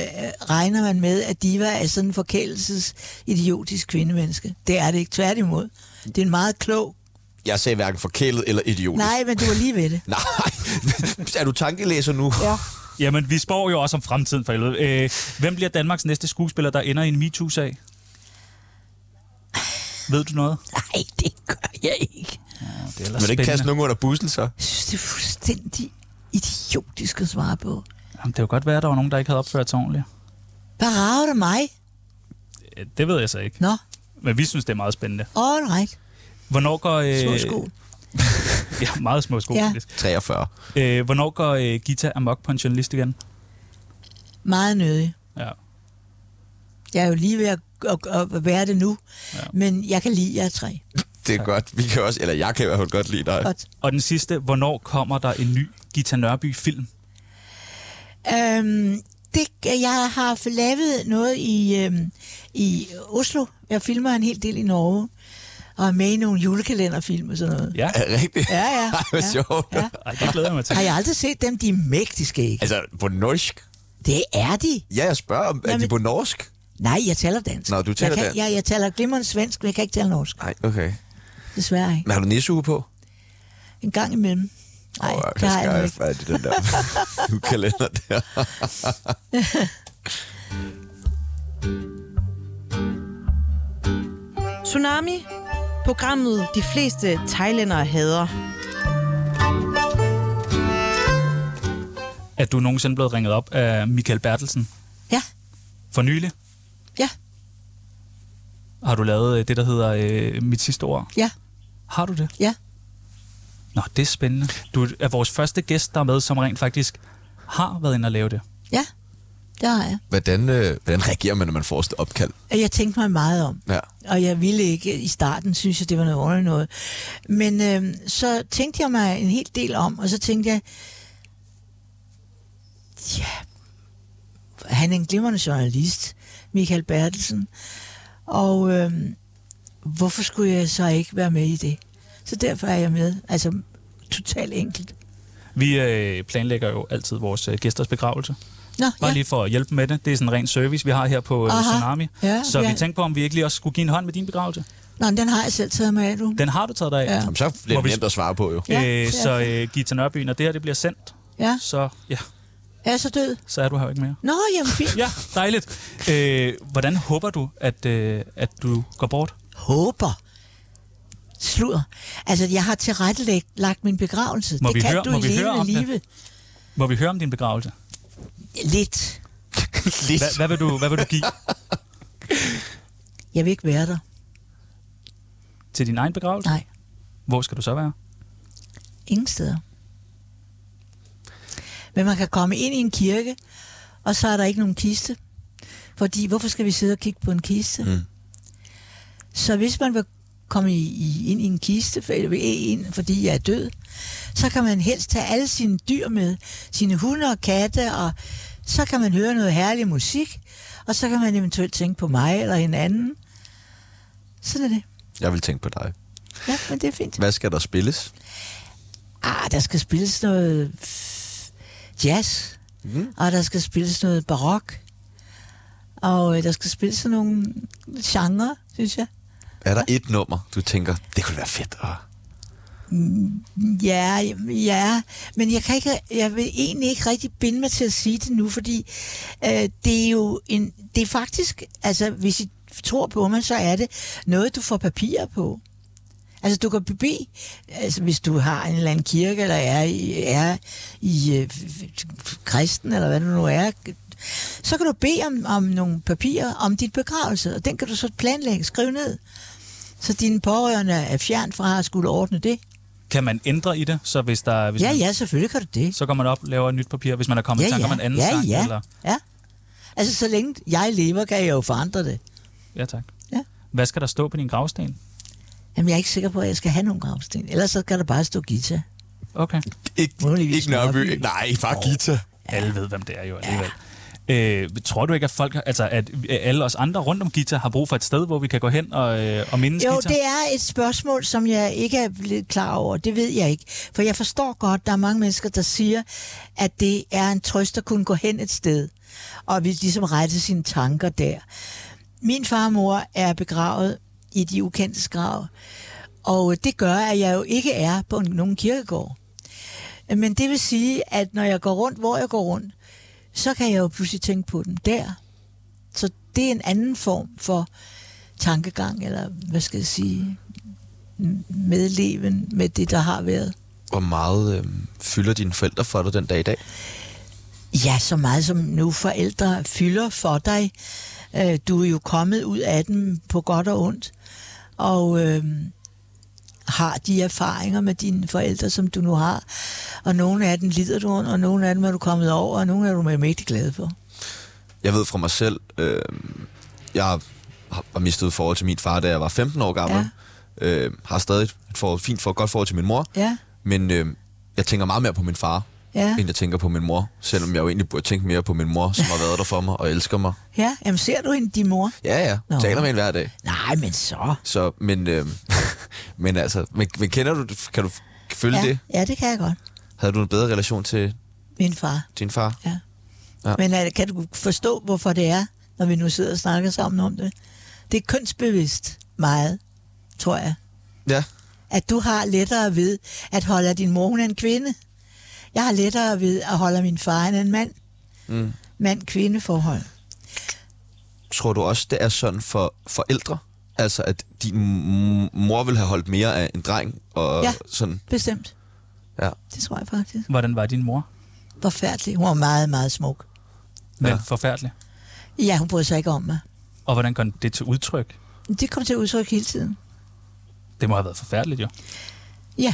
Speaker 3: regner man med, at Diva er sådan en forkælelses idiotisk kvindemenneske. Det er det ikke. Tværtimod. Det er en meget klog...
Speaker 1: Jeg sagde hverken forkælet eller idiotisk.
Speaker 3: Nej, men du er lige ved det.
Speaker 1: Nej. (laughs) er du tankelæser nu? Ja.
Speaker 4: Jamen, vi spår jo også om fremtiden for helvede. Øh, hvem bliver Danmarks næste skuespiller, der ender i en MeToo-sag? Ved du noget?
Speaker 3: (laughs) Nej, det gør jeg ikke.
Speaker 4: Det er ellers
Speaker 1: Vil du ikke kaste
Speaker 4: spændende.
Speaker 1: nogen under bussen, så?
Speaker 3: Jeg synes, det er fuldstændig idiotisk at svare på.
Speaker 4: Jamen, det kan jo godt være, at der var nogen, der ikke havde opført sig ordentligt.
Speaker 3: Hvad rager det mig?
Speaker 4: Øh, Det ved jeg så ikke.
Speaker 3: Nå,
Speaker 4: Men vi synes, det er meget spændende.
Speaker 3: all right.
Speaker 4: Hvornår går... Øh,
Speaker 3: Små sko.
Speaker 4: Ja, meget små sko.
Speaker 3: Ja.
Speaker 4: Ja.
Speaker 1: 43.
Speaker 4: Øh, hvornår går øh, Gita amok på en journalist igen?
Speaker 3: Meget nødig.
Speaker 4: Ja.
Speaker 3: Jeg er jo lige ved at, at, at være det nu, ja. men jeg kan lide jer tre.
Speaker 1: Det er godt. Vi kan også, eller jeg kan i hvert fald godt lide dig.
Speaker 3: Godt.
Speaker 4: Og den sidste, hvornår kommer der en ny Gita Nørby-film?
Speaker 3: Øhm, det, jeg har lavet noget i, øhm, i Oslo. Jeg filmer en hel del i Norge. Og er med i nogle julekalenderfilm og sådan noget.
Speaker 4: Ja,
Speaker 1: Er det rigtigt?
Speaker 3: Ja, ja.
Speaker 1: (laughs) Ej, hvor
Speaker 3: ja,
Speaker 1: sjovt.
Speaker 3: Ja.
Speaker 4: Ej, det glæder jeg mig
Speaker 3: (laughs)
Speaker 4: til.
Speaker 3: Har jeg aldrig set dem? De er mægtiske, ikke?
Speaker 1: Altså, på norsk?
Speaker 3: Det er de.
Speaker 1: Ja, jeg spørger, om, er
Speaker 3: Jamen-
Speaker 1: de på norsk?
Speaker 3: Nej, jeg taler dansk.
Speaker 1: Nå, du taler
Speaker 3: jeg kan,
Speaker 1: dansk.
Speaker 3: Jeg, jeg taler glimrende svensk, men jeg kan ikke tale norsk.
Speaker 1: Nej, okay.
Speaker 3: Desværre ikke.
Speaker 1: Men har du nisseuge på?
Speaker 3: En gang imellem. Nej,
Speaker 1: Åh,
Speaker 3: det har jeg nu
Speaker 1: skal
Speaker 3: ikke.
Speaker 1: Hvad er det, den der julekalender der? (laughs)
Speaker 6: Tsunami, programmet de fleste thailændere hader.
Speaker 4: Er du nogensinde blevet ringet op af Michael Bertelsen
Speaker 3: Ja,
Speaker 4: for nylig?
Speaker 3: ja,
Speaker 4: Har du lavet øh, det, der hedder øh, Mit sidste ord?
Speaker 3: ja,
Speaker 4: Har du det?
Speaker 3: ja.
Speaker 4: Nå, det er spændende. Du er vores første gæst, der er med, som rent faktisk har været inde og lave det.
Speaker 3: Ja, det har jeg.
Speaker 1: Hvordan, øh, hvordan reagerer man, når man får sådan et opkald?
Speaker 3: Jeg tænkte mig meget om.
Speaker 1: Ja.
Speaker 3: Og jeg ville ikke i starten, synes jeg, det var noget underligt noget. Men øh, så tænkte jeg mig en hel del om, og så tænkte jeg, ja, han er en glimrende journalist, Michael Bertelsen, og øh, hvorfor skulle jeg så ikke være med i det? Så derfor er jeg med, altså totalt enkelt.
Speaker 4: Vi øh, planlægger jo altid vores øh, gæsters begravelse.
Speaker 3: Nå,
Speaker 4: Bare
Speaker 3: ja.
Speaker 4: lige for at hjælpe med det. Det er sådan en ren service, vi har her på øh,
Speaker 3: Aha.
Speaker 4: Tsunami.
Speaker 3: Ja,
Speaker 4: så
Speaker 3: ja.
Speaker 4: vi tænkte på, om vi ikke lige også skulle give en hånd med din begravelse.
Speaker 3: Nå, men den har jeg selv taget med af, du.
Speaker 4: Den har du taget dig af.
Speaker 3: Ja.
Speaker 1: Jamen, så bliver
Speaker 4: Må
Speaker 1: det
Speaker 4: vi-
Speaker 1: nemt at svare på, jo.
Speaker 3: Ja, det
Speaker 4: øh,
Speaker 3: er
Speaker 4: så øh, Gita Nørby, når det her det bliver sendt,
Speaker 3: Ja,
Speaker 4: så, ja,
Speaker 3: er jeg så død?
Speaker 4: så er du her jo ikke mere.
Speaker 3: Nå, jamen fint.
Speaker 4: Ja, dejligt. Øh, hvordan håber du, at, øh, at du går bort?
Speaker 3: håber. Slur. Altså, jeg har tilrettelagt lagt min begravelse.
Speaker 4: Må
Speaker 3: det
Speaker 4: vi
Speaker 3: kan
Speaker 4: høre-
Speaker 3: du
Speaker 4: må
Speaker 3: i
Speaker 4: vi høre
Speaker 3: levende
Speaker 4: om det?
Speaker 3: live.
Speaker 4: Må vi høre om din begravelse?
Speaker 3: Lidt.
Speaker 1: Lidt.
Speaker 4: Hva, hvad, vil du, hvad vil du give
Speaker 3: Jeg vil ikke være der.
Speaker 4: til din egen begravelse?
Speaker 3: Nej,
Speaker 4: Hvor skal du så være?
Speaker 3: ingen steder. Men man kan komme ind i en kirke, og så er der ikke nogen kiste. Fordi, hvorfor skal vi sidde og kigge på en kiste? Mm. Så hvis man vil komme i, i, ind i en kiste, for- eller vil ind, fordi jeg er død, så kan man helst tage alle sine dyr med, sine hunde og katte, og så kan man høre noget herlig musik, og så kan man eventuelt tænke på mig eller en anden. Sådan er det.
Speaker 1: Jeg vil tænke på dig.
Speaker 3: Ja, men det er fint.
Speaker 1: Hvad skal der spilles?
Speaker 3: Ah, der skal spilles noget f- jazz, mm. og der skal spilles noget barok, og øh, der skal spilles sådan nogle genre, synes jeg.
Speaker 1: Er der et nummer, du tænker, det kunne være fedt? at-
Speaker 3: Ja, ja, men jeg, kan ikke, jeg vil egentlig ikke rigtig binde mig til at sige det nu, fordi øh, det er jo en, det er faktisk, altså hvis I tror på mig, så er det noget, du får papirer på. Altså du kan bede, altså hvis du har en eller anden kirke, eller er i, er i øh, f- f- kristen, eller hvad du nu er, så kan du bede om, om nogle papirer om dit begravelse, og den kan du så planlægge, skrive ned. Så dine pårørende er fjern fra at skulle ordne det.
Speaker 4: Kan man ændre i det, så hvis der hvis
Speaker 3: Ja,
Speaker 4: man,
Speaker 3: ja, selvfølgelig kan du det.
Speaker 4: så går man op og laver et nyt papir, hvis man er kommet
Speaker 3: Ja,
Speaker 4: i tanke
Speaker 3: ja.
Speaker 4: om en anden
Speaker 3: ja,
Speaker 4: sang?
Speaker 3: ja.
Speaker 4: Eller,
Speaker 3: ja. Altså, så længe jeg lever, kan jeg jo forandre det.
Speaker 4: ja, tak.
Speaker 3: Ja.
Speaker 4: Hvad skal der stå på din gravsten?
Speaker 3: Jamen, jeg er ikke sikker på, at jeg skal have nogen gravsten. Ellers så kan der bare stå guitar.
Speaker 4: Okay.
Speaker 1: Ikke,
Speaker 3: Muligvis
Speaker 1: ikke Nørby.
Speaker 3: Nørby.
Speaker 1: Nej, bare Gita.
Speaker 4: Alle ved, hvem det er jo alligevel. Øh, tror du ikke, at folk, har- altså at øh, alle os andre rundt om Gita har brug for et sted, hvor vi kan gå hen og, øh, og mindes
Speaker 3: Jo,
Speaker 4: Gita?
Speaker 3: det er et spørgsmål, som jeg ikke er blevet klar over. Det ved jeg ikke. For jeg forstår godt, der er mange mennesker, der siger, at det er en trøst at kunne gå hen et sted. Og vi ligesom rette sine tanker der. Min far og mor er begravet i de ukendtes grav. Og det gør, at jeg jo ikke er på nogen kirkegård. Men det vil sige, at når jeg går rundt, hvor jeg går rundt, så kan jeg jo pludselig tænke på den der. Så det er en anden form for tankegang, eller hvad skal jeg sige, m- medleven med det, der har været.
Speaker 1: Hvor meget øh, fylder dine forældre for dig den dag i dag?
Speaker 3: Ja, så meget som nu forældre fylder for dig. Øh, Du er jo kommet ud af dem på godt og ondt, og øh, har de erfaringer med dine forældre, som du nu har. Og nogle af dem lider du under, og nogle af dem er du kommet over, og nogle af dem er du mægtig glad for.
Speaker 1: Jeg ved fra mig selv, øh, jeg har har mistet forhold til min far, da jeg var 15 år gammel.
Speaker 3: Ja.
Speaker 1: Øh, har stadig et for, fint for, godt forhold til min mor,
Speaker 3: Ja,
Speaker 1: men øh, jeg tænker meget mere på min far,
Speaker 3: ja,
Speaker 1: end jeg tænker på min mor. Selvom jeg jo egentlig burde tænke mere på min mor, som har været der for mig og elsker mig.
Speaker 3: ja. Jamen, ser du hende, din mor?
Speaker 1: Ja, ja.
Speaker 3: Nå.
Speaker 1: Taler med hende hver dag.
Speaker 3: Nej, men så.
Speaker 1: Så, men, øh, (laughs) men altså, men, men kender du, kan du følge
Speaker 3: Ja,
Speaker 1: det?
Speaker 3: ja, det kan jeg godt.
Speaker 1: Havde du en bedre relation til
Speaker 3: Min far.
Speaker 1: din far?
Speaker 3: Ja.
Speaker 1: Ja.
Speaker 3: ja. Men er, kan du forstå, hvorfor det er, når vi nu sidder og snakker sammen om det? Det er kønsbevidst meget, tror jeg.
Speaker 1: Ja.
Speaker 3: At du har lettere ved at holde af din mor, hun er en kvinde. Jeg har lettere ved at holde af min far, han er en mand.
Speaker 1: Mm.
Speaker 3: Mand-kvinde-forhold.
Speaker 1: Tror du også, det er sådan for forældre? Altså, at din m- mor ville have holdt mere af en dreng? Og
Speaker 3: Ja.
Speaker 1: sådan.
Speaker 3: Bestemt.
Speaker 1: Ja.
Speaker 3: Det tror jeg faktisk.
Speaker 4: Hvordan var din mor?
Speaker 3: Forfærdelig. Hun var meget, meget smuk.
Speaker 4: Men
Speaker 1: Ja.
Speaker 4: ja. forfærdelig.
Speaker 3: Ja, hun brød sig ikke om mig.
Speaker 4: Og hvordan kom det til udtryk?
Speaker 3: Men Det kom til udtryk hele tiden.
Speaker 4: Det må have været forfærdeligt jo.
Speaker 3: Ja,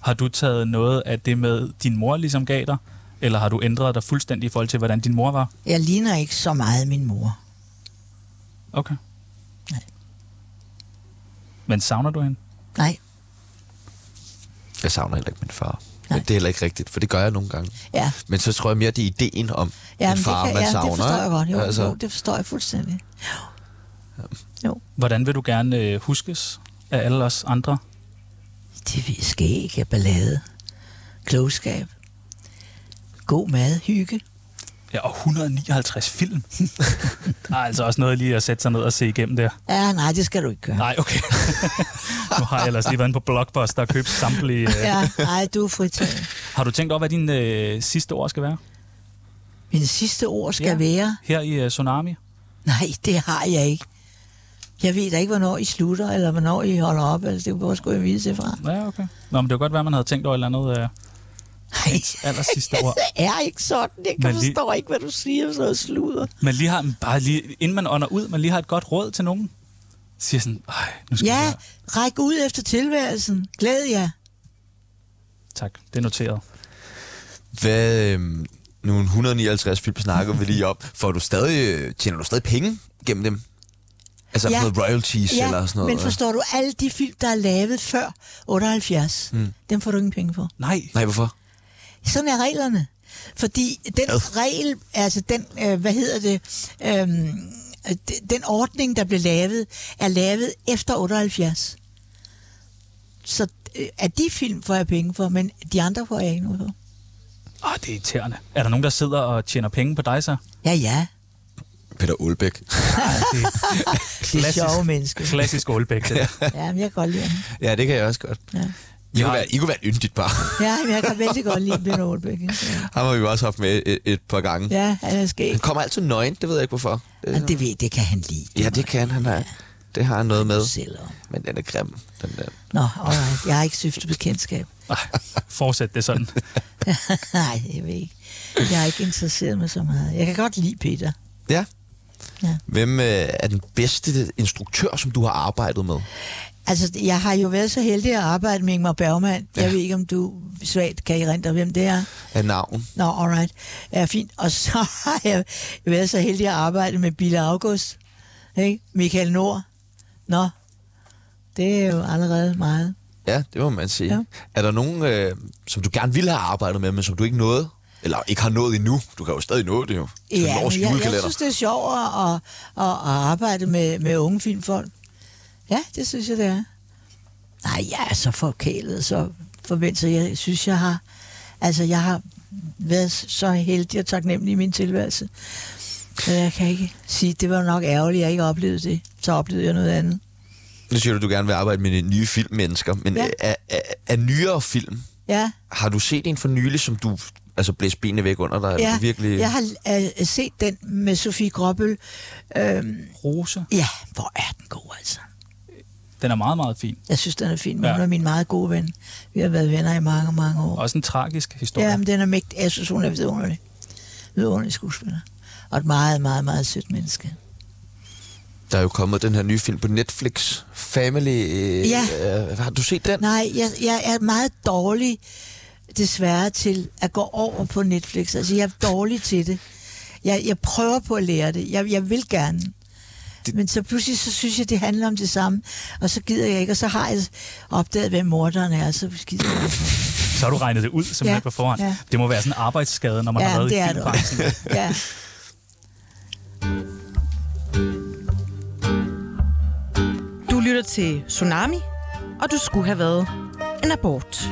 Speaker 4: Har du taget noget af det med, din mor ligesom gav dig? Eller har du ændret dig fuldstændig i forhold til, hvordan din mor var?
Speaker 3: jeg ligner ikke så meget min mor.
Speaker 4: Okay.
Speaker 3: Nej.
Speaker 4: Men savner du hende?
Speaker 3: Nej,
Speaker 1: Jeg savner heller ikke min far.
Speaker 3: Nej.
Speaker 1: Men det er heller ikke rigtigt, for det gør jeg nogle gange.
Speaker 3: ja.
Speaker 1: Men så tror jeg mere, det er ideen om
Speaker 3: Ja,
Speaker 1: en
Speaker 3: men
Speaker 1: far,
Speaker 3: det kan,
Speaker 1: man
Speaker 3: ja,
Speaker 1: savner.
Speaker 3: det forstår jeg
Speaker 1: ikke?
Speaker 3: godt. Jo, altså.
Speaker 1: altså,
Speaker 3: jo, det forstår jeg fuldstændig.
Speaker 4: Hvordan vil du gerne øh, huskes af alle os andre?
Speaker 3: Det vi skal ikke have ballade. Klogskab. God mad, hygge.
Speaker 4: Ja, og 159
Speaker 3: (laughs)
Speaker 4: film. der er altså også noget lige at sætte sig ned og se igennem der.
Speaker 3: Ja, nej, det skal du ikke gøre.
Speaker 4: Nej,
Speaker 3: (laughs)
Speaker 4: okay. nu har jeg ellers lige været inde på Blockbuster og købt samtlige... Øh.
Speaker 3: Ja, nej, du er fritaget.
Speaker 4: Har du tænkt over, hvad dine øh, sidste ord skal være?
Speaker 3: Mine sidste ord skal
Speaker 4: Ja.
Speaker 3: ja. være,
Speaker 4: Her i øh, Tsunami?
Speaker 3: nej, det har jeg ikke. Jeg ved da ikke, hvornår I slutter, eller hvornår I holder op. Altså, det hvor skulle jeg vise det fra?
Speaker 4: Ja, okay. Nå, men det var godt være, man havde tænkt over et eller andet øh,
Speaker 3: Nej,
Speaker 4: aller sidste ord.
Speaker 3: det (laughs) er ikke sådan. Jeg
Speaker 4: Men
Speaker 3: kan
Speaker 4: lige-
Speaker 3: forstår ikke, hvad du siger, så noget sludder.
Speaker 4: Man lige har, bare lige, inden man ånder ud, man lige har et godt råd til nogen. Siger sådan, Ej, nu skal
Speaker 3: Ja,
Speaker 4: jeg...
Speaker 3: ræk ud efter tilværelsen. Glæd jer.
Speaker 4: Tak, det er noteret.
Speaker 1: Hvad, øhm, nu er 159 film snakker vi lige op. Får du stadig, øh, tjener du stadig penge gennem dem? Altså ja.
Speaker 3: Ja.
Speaker 1: noget royalties ja, eller sådan noget?
Speaker 3: men forstår du, alle de film, der er lavet før 78, mm. dem får du ingen penge for.
Speaker 4: Nej,
Speaker 1: Nej, hvorfor?
Speaker 3: Sådan er reglerne. Fordi den
Speaker 1: Ad.
Speaker 3: regel, altså den, øh, hvad hedder det, øhm, øh, de- den ordning, der blev lavet, er lavet efter 78. Så øh, at de film får jeg penge for, men de andre får jeg ikke noget for.
Speaker 4: Åh, Ah, det er irriterende. Er der nogen, der sidder og tjener penge på dig så?
Speaker 3: Ja, ja.
Speaker 1: Peter Olbæk.
Speaker 3: Det er
Speaker 4: Klassisk.
Speaker 3: sjove mennesker.
Speaker 4: Klassisk Aalbæk. det der.
Speaker 3: Ja, men jeg kan godt lide ham.
Speaker 1: (laughs) ja, det kan jeg også godt.
Speaker 3: Ja.
Speaker 1: I, kunne
Speaker 4: Nej.
Speaker 1: være, I kunne være et yndigt par.
Speaker 3: Ja, men jeg kan vældig godt lide Peter Aalbæk. ikke? Ja.
Speaker 1: Ham har vi jo også haft med et, et par gange. Ja.
Speaker 3: Ja, han er skæg.
Speaker 1: Han kommer altid nøgen, det ved jeg ikke hvorfor. Øh,
Speaker 3: Men det ved, det kan han lide.
Speaker 1: Ja, det kan han have. Det har han noget med.
Speaker 3: Selv om.
Speaker 1: Men den er grim, den der.
Speaker 3: Nå, alright. Jeg har ikke syftet bekendtskab.
Speaker 4: Ej, fortsæt det sådan.
Speaker 3: (laughs) Nej, jeg ved ikke. Jeg er ikke interesseret mig så meget. Jeg kan godt lide Peter.
Speaker 1: Ja.
Speaker 3: Ja.
Speaker 1: Hvem øh, er den bedste instruktør, som du har arbejdet med?
Speaker 3: Altså, jeg har jo været så heldig at arbejde med Ingmar Bergman. Jeg ved ikke, om du svagt kan I rente hvem det er.
Speaker 1: Af navn?
Speaker 3: Nå, alright. Ja, fint. Og så (laughs) har jeg været så heldig at arbejde med Bille August. Ikke? Michael Nord. Nå, det er jo allerede meget.
Speaker 1: Ja, det må man sige. Ja.
Speaker 3: Ja.
Speaker 1: Er der nogen, øh, som du gerne ville have arbejdet med, men som du ikke nåede? Eller ikke har nået endnu? Du kan jo stadig nå det jo. Til ja, års
Speaker 3: men jeg, jeg
Speaker 1: julekalender.
Speaker 3: synes, det er sjovt at, at, at, at arbejde med, med unge filmfolk. Ja, det synes jeg, det er. Nej, jeg er så forkælet, så forventet. så Jeg synes, jeg har, altså, jeg har været så heldig og taknemmelig i min tilværelse. Så jeg kan ikke sige, det var nok ærgerligt, at jeg ikke oplevede det. Så oplevede jeg noget andet.
Speaker 1: Nu siger du, du gerne vil arbejde med nye filmmennesker, men ja.
Speaker 3: Ja.
Speaker 1: er, er, er nyere film,
Speaker 3: Ja,
Speaker 1: har du set en for nylig, som du altså blæst benene væk under dig? eller
Speaker 3: ja
Speaker 1: du virkelig...
Speaker 3: jeg har øh, set den med Sofie Gråbøl. Øhm,
Speaker 4: Rosa,
Speaker 3: ja, hvor er den god, altså.
Speaker 4: den er meget, meget fin.
Speaker 3: Jeg synes, den er fin, men
Speaker 4: Ja.
Speaker 3: ja. hun er min meget gode ven. Vi har været venner i mange, mange år.
Speaker 4: Også en tragisk historie.
Speaker 3: Ja, men den er mægtig. Jeg synes, hun er vidunderlig. Vidunderlig skuespiller. Og et meget, meget, meget sødt menneske.
Speaker 1: Der er jo kommet den her nye film på Netflix, Family... Øh,
Speaker 3: Ja.
Speaker 1: øh, har du set den?
Speaker 3: Nej, jeg, jeg er meget dårlig, desværre, til at gå over på Netflix. Altså, jeg er dårlig til det. Jeg, jeg prøver på at lære det. Jeg, jeg vil gerne.
Speaker 1: Det-
Speaker 3: Det... Men så pludselig, så synes jeg, det handler om det samme. Og så gider jeg ikke, og så har jeg opdaget, hvem morderen er, og så skider (laughs) jeg.
Speaker 4: Så har du regnet det ud simpelthen
Speaker 3: Ja,
Speaker 4: på forhånd.
Speaker 3: ja.
Speaker 4: Det må være sådan en arbejdsskade, når man
Speaker 3: Ja,
Speaker 4: har været
Speaker 3: det
Speaker 4: i
Speaker 3: er det
Speaker 4: filmbranchen.
Speaker 3: Ja.
Speaker 6: Du lytter til Tsunami, og du skulle have været en abort.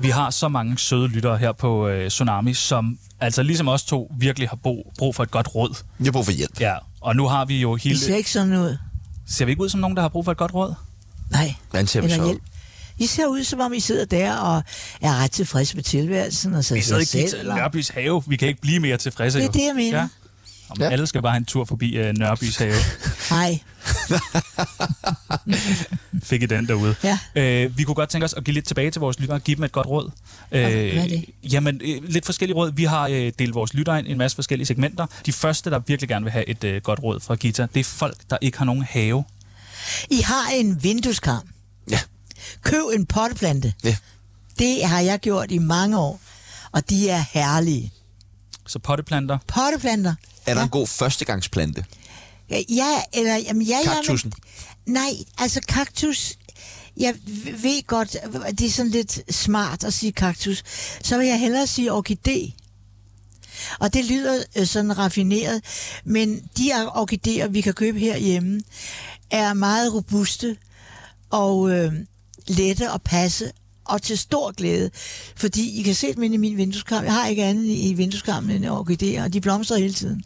Speaker 4: Vi har så mange søde lyttere her på øh, Tsunami, som altså ligesom os to virkelig har brug, brug for et godt råd.
Speaker 1: Jeg har brug for hjælp.
Speaker 4: Ja, og nu har vi jo hele...
Speaker 3: Det ser ikke sådan ud.
Speaker 4: Ser vi ikke ud som nogen, der har brug for et godt råd?
Speaker 3: Nej.
Speaker 1: Hvordan ser vi
Speaker 3: Eller
Speaker 1: så ud?
Speaker 3: hjælp. I ser ud, som om I sidder der og er ret tilfredse med tilværelsen. Og så
Speaker 4: Vi sidder
Speaker 3: jer
Speaker 4: i
Speaker 3: selv,
Speaker 4: Gita
Speaker 3: og-
Speaker 4: Nørbys have. Vi kan ikke blive mere tilfredse.
Speaker 3: Det er
Speaker 4: jo.
Speaker 3: det, jeg mener.
Speaker 4: Ja. Om ja.
Speaker 1: Ja.
Speaker 4: Alle skal bare have en tur forbi øh, Nørbys have.
Speaker 3: Nej.
Speaker 4: Fik I den derude.
Speaker 3: Ja.
Speaker 4: Øh, vi kunne godt tænke os at give lidt tilbage til vores lyttere og give dem et godt råd. Øh,
Speaker 3: hvad er det?
Speaker 4: Jamen, øh, lidt forskellige råd. Vi har øh, delt vores lyttere ind i en masse forskellige segmenter. De første, der virkelig gerne vil have et øh, godt råd fra Gita, det er folk, der ikke har nogen have.
Speaker 3: I har en vindueskam.
Speaker 1: Ja.
Speaker 3: Køb en potteplante.
Speaker 1: Ja.
Speaker 3: Det har jeg gjort i mange år, og de er herlige.
Speaker 4: Så potteplanter.
Speaker 3: Potteplanter.
Speaker 1: Er der en god førstegangsplante?
Speaker 3: Ja, eller... Jamen, ja,
Speaker 1: Kaktussen.
Speaker 3: Jamen, nej, altså kaktus... Jeg ved godt, det er sådan lidt smart at sige kaktus. Så vil jeg hellere sige orkidé. Og det lyder øh, sådan raffineret, men de her orkideer, vi kan købe herhjemme, er meget robuste og øh, lette at passe, og til stor glæde, fordi I kan se dem inde i min vindueskarm. Jeg har ikke andet i vindueskarmen end orkideer, og de blomstrer hele tiden.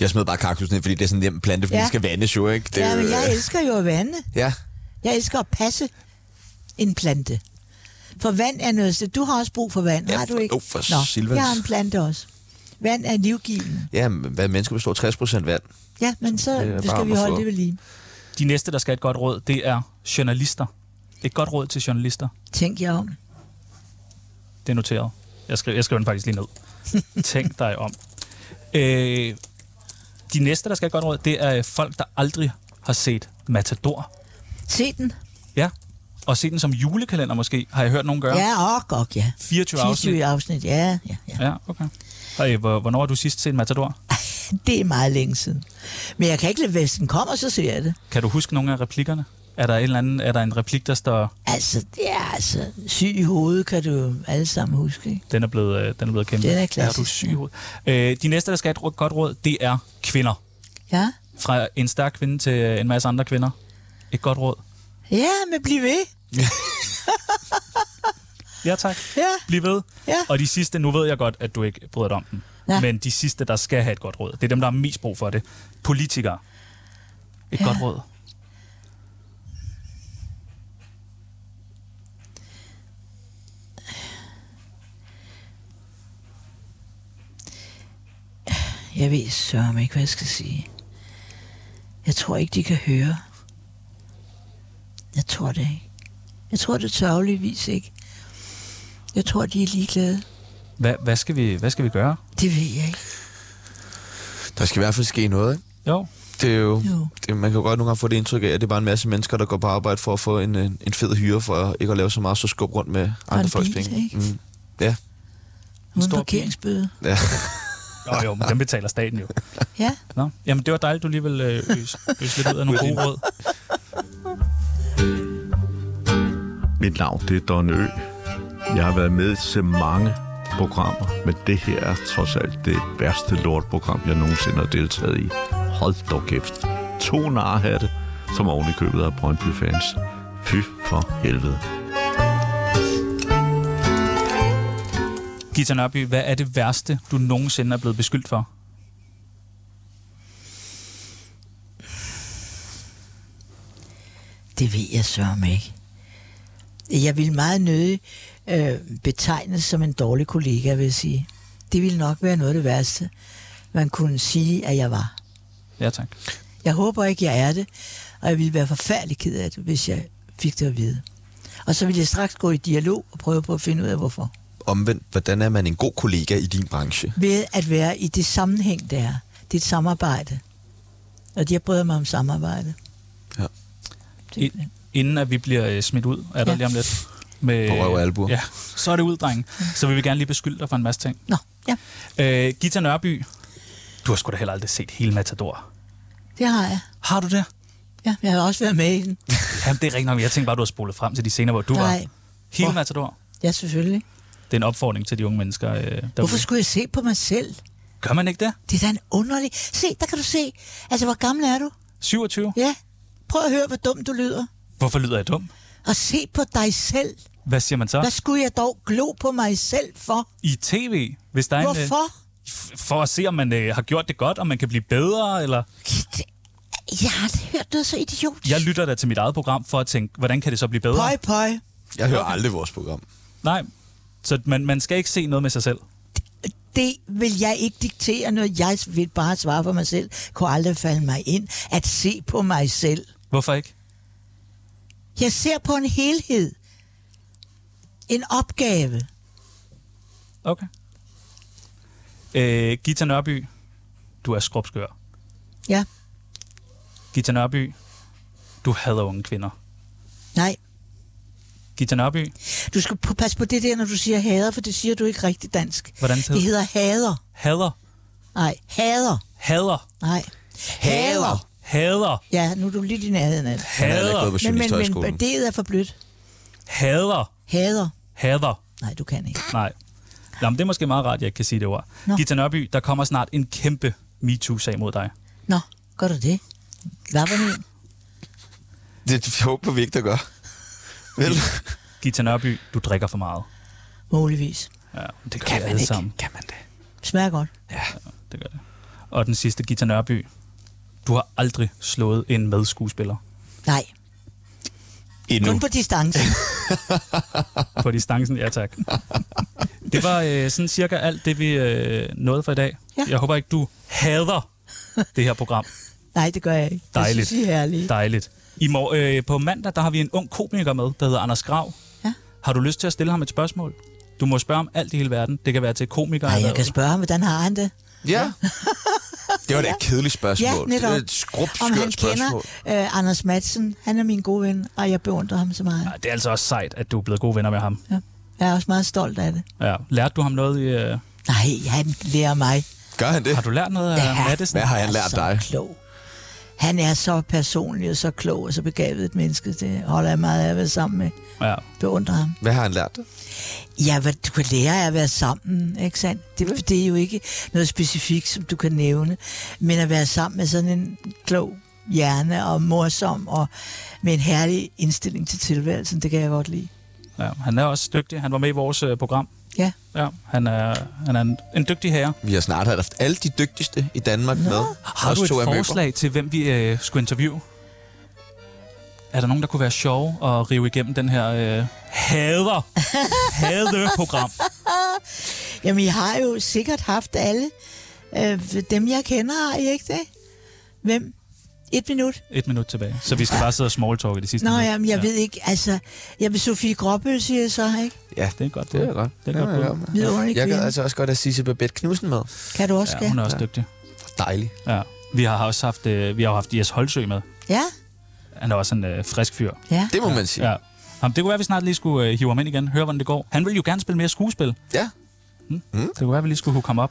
Speaker 1: Jeg smed bare kaktusen ind, fordi det er sådan en nem plante, fordi ja.
Speaker 3: Ja.
Speaker 1: den skal vandes jo, ikke? Det,
Speaker 3: Ja,
Speaker 1: er jo-
Speaker 3: men jeg elsker jo at vande.
Speaker 1: ja.
Speaker 3: Jeg elsker at passe en plante. For vand er noget... Du har også brug for vand,
Speaker 1: Ja,
Speaker 3: har du
Speaker 1: for-
Speaker 3: ikke?
Speaker 1: jo, for silvans.
Speaker 3: jeg har en plante også. Vand er livgivende.
Speaker 1: ja, men hvad menneske består 60 vand?
Speaker 3: Ja, men så
Speaker 1: Det er bare
Speaker 3: skal
Speaker 1: om
Speaker 3: vi
Speaker 1: at
Speaker 3: holde
Speaker 1: få-
Speaker 3: det ved lige.
Speaker 4: De næste, der skal have et godt råd, det er journalister. Et godt råd til journalister.
Speaker 3: Tænk jer om.
Speaker 4: Det er noteret. Jeg skriver, jeg skriver den faktisk lige
Speaker 3: (laughs)
Speaker 4: ned. Tænk dig om. Øh, de næste, der skal have et godt råd, det er folk, der aldrig har set Matador.
Speaker 3: Se den.
Speaker 4: Ja. Og se den som julekalender måske, har jeg hørt nogen gøre.
Speaker 3: Ja, og godt, ja.
Speaker 4: 24 afsnit.
Speaker 3: 24 afsnit, ja, ja, ja.
Speaker 4: Ja, okay. Hey, hvor- hvornår har du sidst set Matador?
Speaker 3: Det er meget længe siden. Men jeg kan ikke lade, hvis den kommer, så ser jeg det.
Speaker 4: Kan du huske nogle af replikkerne? Er der, en eller anden, er der en replik, der står,
Speaker 3: Altså, det er altså... Syg i hovedet kan du jo alle sammen huske, ikke?
Speaker 4: den er blevet, øh, den er blevet kæmpe?
Speaker 3: Den er
Speaker 4: er
Speaker 3: klassisk,
Speaker 4: du syg i hovedet? øh, De næste, der skal have et råd- godt råd, det er kvinder.
Speaker 3: Ja?
Speaker 4: Fra en stærk kvinde til øh, en masse andre kvinder. Et godt råd.
Speaker 3: Ja, men bliv ved.
Speaker 4: Ja, tak.
Speaker 3: Ja.
Speaker 4: Bliv ved.
Speaker 3: Ja.
Speaker 4: Og de sidste, nu ved jeg godt, at du ikke bryder dig om dem.
Speaker 3: Ja.
Speaker 4: Men de sidste, der skal have et godt råd, det er dem, der har mest brug for det. Politikere. Et ja. godt råd.
Speaker 3: Jeg ved sørme ikke, hvad jeg skal sige. Jeg tror ikke, de kan høre. Jeg tror det ikke. Jeg tror det tørgeligvis ikke. Jeg tror, de er ligeglade.
Speaker 4: Hvad, hvad, skal vi, hvad skal vi gøre?
Speaker 3: Det ved jeg ikke.
Speaker 1: Der skal i hvert fald ske noget, ikke?
Speaker 4: Jo,
Speaker 1: Det er jo,
Speaker 3: Jo.
Speaker 1: Det, man kan jo godt nogle gange få det indtryk af, at det er bare en masse mennesker, der går på arbejde for at få en, øh, en fed hyre, for ikke at lave så meget så skub rundt med andre
Speaker 3: en
Speaker 1: folks
Speaker 3: bil,
Speaker 1: penge.
Speaker 3: ikke?
Speaker 1: Mm. Ja,
Speaker 3: Uden
Speaker 4: stor
Speaker 3: parkeringsbøde.
Speaker 1: ja.
Speaker 4: jo, jo men dem betaler staten jo.
Speaker 3: Ja.
Speaker 4: Nå. Jamen, det var dejligt, du lige ville øh, øse, øse lidt ud af nogle gode råd.
Speaker 5: Mit navn det er Don Ø. Jeg har været med til mange programmer, men det her er trods alt det værste lortprogram, jeg nogensinde har deltaget i. Hold dog kæft. To narhatte, som oven i købet af Brøndby fans. Fy for helvede.
Speaker 4: Gita Nørby, hvad er det værste, du nogensinde er blevet beskyldt for?
Speaker 3: Det ved jeg sørme ikke. Jeg vil meget nødig øh, betegnes som en dårlig kollega, vil jeg sige. Det ville nok være noget af det værste, man kunne sige, at jeg var.
Speaker 4: Ja, tak.
Speaker 3: Jeg håber ikke, jeg er det, og jeg ville være forfærdelig ked af det, hvis jeg fik det at vide. Og så ville jeg straks gå i dialog og prøve på at finde ud af, hvorfor.
Speaker 1: Omvendt, hvordan er man en god kollega i din branche?
Speaker 3: Ved at være i det sammenhæng, det er. Det er et samarbejde. Og jeg bryder mig om samarbejde.
Speaker 1: Ja.
Speaker 3: Det,
Speaker 4: I- Inden at vi bliver øh, smidt ud, er der
Speaker 3: Ja.
Speaker 4: lige om lidt. Med,
Speaker 1: På røv og albuer.
Speaker 4: Ja, så er det ud, drenge. Så vil vi gerne lige beskylde dig for en masse ting.
Speaker 3: nå, ja.
Speaker 4: Øh, Gita Nørby, Du har sgu da heller aldrig set hele Matador.
Speaker 3: Det har jeg.
Speaker 4: Har du det?
Speaker 3: Ja, jeg har også været med i den.
Speaker 4: Jamen, det er rigtigt nok. Jeg tænkte bare, du har spolet frem til de scener, hvor du
Speaker 3: Nej.
Speaker 4: var. Hele Matador.
Speaker 3: Ja, selvfølgelig.
Speaker 4: Det er en opfordring til de unge mennesker. Øh, derude.
Speaker 3: Hvorfor skulle jeg se på mig selv?
Speaker 4: Gør man ikke det?
Speaker 3: Det er da en underlig... Se, der kan du se. Altså, hvor gammel er du?
Speaker 4: 27?
Speaker 3: Ja. Prøv at høre, hvor dum du lyder.
Speaker 4: Hvorfor lyder jeg dum?
Speaker 3: Og se på dig selv.
Speaker 4: Hvad siger man så?
Speaker 3: Hvad skulle jeg dog glo på mig selv for?
Speaker 4: I tv? Hvis der er en, øh,
Speaker 3: Hvorfor?
Speaker 4: f- for at se, om man øh, har gjort det godt, om man kan blive bedre, eller...
Speaker 3: Jeg har aldrig hørt noget så idiotisk.
Speaker 4: Jeg lytter da til mit eget program for at tænke, hvordan kan det så blive bedre?
Speaker 3: Pøj, pøj.
Speaker 1: Jeg hører aldrig vores program.
Speaker 4: Nej, så man, man skal ikke se noget med sig selv.
Speaker 3: Det vil jeg ikke diktere noget. Jeg vil bare svare for mig selv. Kunne aldrig falde mig ind at se på mig selv.
Speaker 4: Hvorfor ikke?
Speaker 3: Jeg ser på en helhed. En opgave.
Speaker 4: Okay. Øh, Gita Nørby, du er skrubskør.
Speaker 3: Ja.
Speaker 4: Gita Nørby, du hader unge kvinder.
Speaker 3: Nej.
Speaker 4: Gita Nørby,
Speaker 3: Du skal p- passe på det der, når du siger hader, for det siger du ikke rigtig dansk.
Speaker 4: Hvordan hedder-
Speaker 3: det? hedder hader.
Speaker 4: hader,
Speaker 3: Nej, hader.
Speaker 4: hader,
Speaker 3: Nej. Hader.
Speaker 4: hader,
Speaker 3: Ja, nu er du lidt i nærheden af det.
Speaker 1: Han er da ikke gået på
Speaker 4: hader,
Speaker 3: Men, men,
Speaker 1: journalisthøjskolen.
Speaker 3: men det er for blødt.
Speaker 4: hader,
Speaker 3: Hader.
Speaker 4: hader.
Speaker 3: Nej, du kan ikke.
Speaker 4: Nej. Nå, men det er måske meget rart, at jeg ikke kan sige det ord.
Speaker 3: Nå.
Speaker 4: Gita Nørby, der kommer snart en kæmpe MeToo-sag mod dig.
Speaker 3: Nå, gør du det? Hvad var det?
Speaker 1: Det håber vi ikke, der gør. Vel?
Speaker 4: Gita Nørby, du drikker for meget.
Speaker 3: Muligvis.
Speaker 4: Ja, det gør kan vi alle sammen. Kan man det?
Speaker 3: Smager godt.
Speaker 4: Det gør det. Og den sidste, Gita Nørby, du har aldrig slået en medskuespiller
Speaker 3: Nej,
Speaker 1: Endnu.
Speaker 3: kun på distance.
Speaker 4: på distancen. Ja, tak. Det var øh, sådan cirka alt det, vi øh, nåede for i dag.
Speaker 3: Ja.
Speaker 4: Jeg håber ikke, du hader det her program.
Speaker 3: (laughs) Nej, det gør jeg ikke.
Speaker 4: Dejligt.
Speaker 3: Det synes jeg er herligt.
Speaker 4: Dejligt. I mor- øh, på mandag der har vi en ung komiker med, der hedder Anders Grav.
Speaker 3: Ja.
Speaker 4: Har du lyst til at stille ham et spørgsmål? Du må spørge om alt i hele verden. Det kan være til komikere.
Speaker 3: Nej,
Speaker 4: eller-
Speaker 3: jeg kan spørge ham, hvordan har han det?
Speaker 1: Ja. Det var da et kedeligt spørgsmål.
Speaker 3: Ja, netop.
Speaker 1: Det er et skrubt
Speaker 3: Om
Speaker 1: skørt
Speaker 3: han
Speaker 1: spørgsmål.
Speaker 3: kender øh, Anders Madsen. Han er min gode ven, og jeg beundrer ham så meget.
Speaker 4: Ja, det er altså også sejt, at du er blevet gode venner med ham.
Speaker 3: Ja. Jeg er også meget stolt af det.
Speaker 4: Ja. Lærte du ham noget i... Øh...
Speaker 3: Nej, han lærer mig.
Speaker 1: Gør han det?
Speaker 4: Har du lært noget af
Speaker 3: Ja.
Speaker 4: Mattesen?
Speaker 1: Hvad har han lært
Speaker 3: så
Speaker 1: dig?
Speaker 3: klog. Han er så personlig og så klog og så begavet et menneske. Det holder jeg meget af at være sammen med.
Speaker 4: Ja.
Speaker 3: Beundrer ham.
Speaker 1: Hvad har han lært dig?
Speaker 3: Ja, hvad du kan lære af at være sammen, ikke sandt? Det, det er jo ikke noget specifikt, som du kan nævne, men at være sammen med sådan en klog hjerne og morsom og med en herlig indstilling til tilværelsen, det kan jeg godt lide.
Speaker 4: ja. Han er også dygtig. Han var med i vores øh, program.
Speaker 3: Ja,
Speaker 4: Ja, han er, han er en, en dygtig herre.
Speaker 1: Vi har snart haft alle de dygtigste i Danmark med.
Speaker 4: Har
Speaker 1: Os
Speaker 4: du et
Speaker 1: to er møbler.
Speaker 4: forslag til, hvem vi øh, skulle interviewe? Er der nogen, der kunne være sjov at rive igennem den her øh, (laughs) hader, hadeprogram?
Speaker 3: jamen I har jo sikkert haft alle øh, dem, jeg kender, har I ikke det? Hvem? Et minut?
Speaker 4: Et minut tilbage. Så vi skal bare sidde og smalltalke det sidste
Speaker 3: Nå,
Speaker 4: minut.
Speaker 3: jamen, jeg ved ikke, altså, jamen, Sofie Gråbøl siger jeg så, ikke?
Speaker 1: Ja,
Speaker 4: Det er godt.
Speaker 1: det er godt.
Speaker 4: Det er
Speaker 1: Ja,
Speaker 4: godt. bud.
Speaker 1: ja, ja.
Speaker 3: Vidunderlig
Speaker 1: Jeg gad
Speaker 3: kvinde.
Speaker 1: altså også godt at Sisse Babette Knudsen med.
Speaker 3: Kan du også,
Speaker 4: Ja,
Speaker 3: ja,
Speaker 4: hun er også dygtig.
Speaker 1: Dejlig.
Speaker 4: Ja. Vi har også haft, øh, vi har jo haft Jes Holsø med.
Speaker 3: Ja,
Speaker 4: Han er også en øh, frisk fyr.
Speaker 3: ja.
Speaker 1: Det må man sige.
Speaker 4: Ja. Jamen, det kunne være, at vi snart lige skulle øh, hive ham ind igen. Høre, hvordan det går. Han ville jo gerne spille mere skuespil.
Speaker 1: Ja.
Speaker 4: Det kunne være, at vi lige skulle hukke ham op.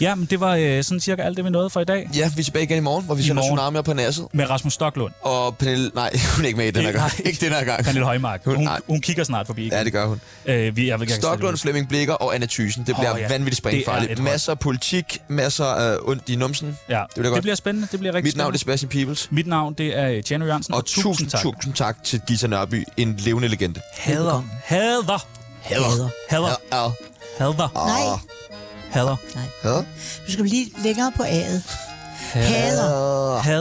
Speaker 4: Ja, men det var øh, sådan cirka alt det, vi nåede for i dag.
Speaker 1: Ja, vi er tilbage igen i morgen, hvor vi sender
Speaker 4: morgen.
Speaker 1: tsunamier på næsset.
Speaker 4: Med Rasmus Stoklund.
Speaker 1: Og Pernille, nej, (laughs) hun er ikke med i den her
Speaker 4: Ikke-
Speaker 1: gang.
Speaker 4: nej.
Speaker 1: Ikke den her gang.
Speaker 4: Pernille Højmark.
Speaker 1: Hun-
Speaker 4: Hun,
Speaker 1: nej.
Speaker 4: hun kigger snart forbi. igen.
Speaker 1: Ja, det gør hun.
Speaker 4: Øh, vi, jeg vil gerne
Speaker 1: Stoklund, Flemming Blikker og Anna Thysen. Det bliver
Speaker 4: Åh, ja.
Speaker 1: vanvittigt
Speaker 4: Det er et
Speaker 1: springfarligt.
Speaker 4: hold.
Speaker 1: Masser af politik, masser af øh, ondt i numsen.
Speaker 4: Ja,
Speaker 1: Det bliver
Speaker 4: det
Speaker 1: godt.
Speaker 4: bliver spændende. Det bliver rigtig
Speaker 1: Mit navn er
Speaker 4: spændende.
Speaker 1: Sebastian Peebles.
Speaker 4: Mit navn, det er øh, Tjerno Jørgensen.
Speaker 1: Og tusind, tusind tak til Gita Nørby, en levende legende.
Speaker 4: Hader. Hader.
Speaker 1: Hader. Ah.
Speaker 4: Hader.
Speaker 1: Hader.
Speaker 4: Hader.
Speaker 3: Nej,
Speaker 4: Hader.
Speaker 3: nej.
Speaker 1: Hader.
Speaker 3: Du skal blive længere på A'et. Hader.
Speaker 1: Ah.
Speaker 4: Hader.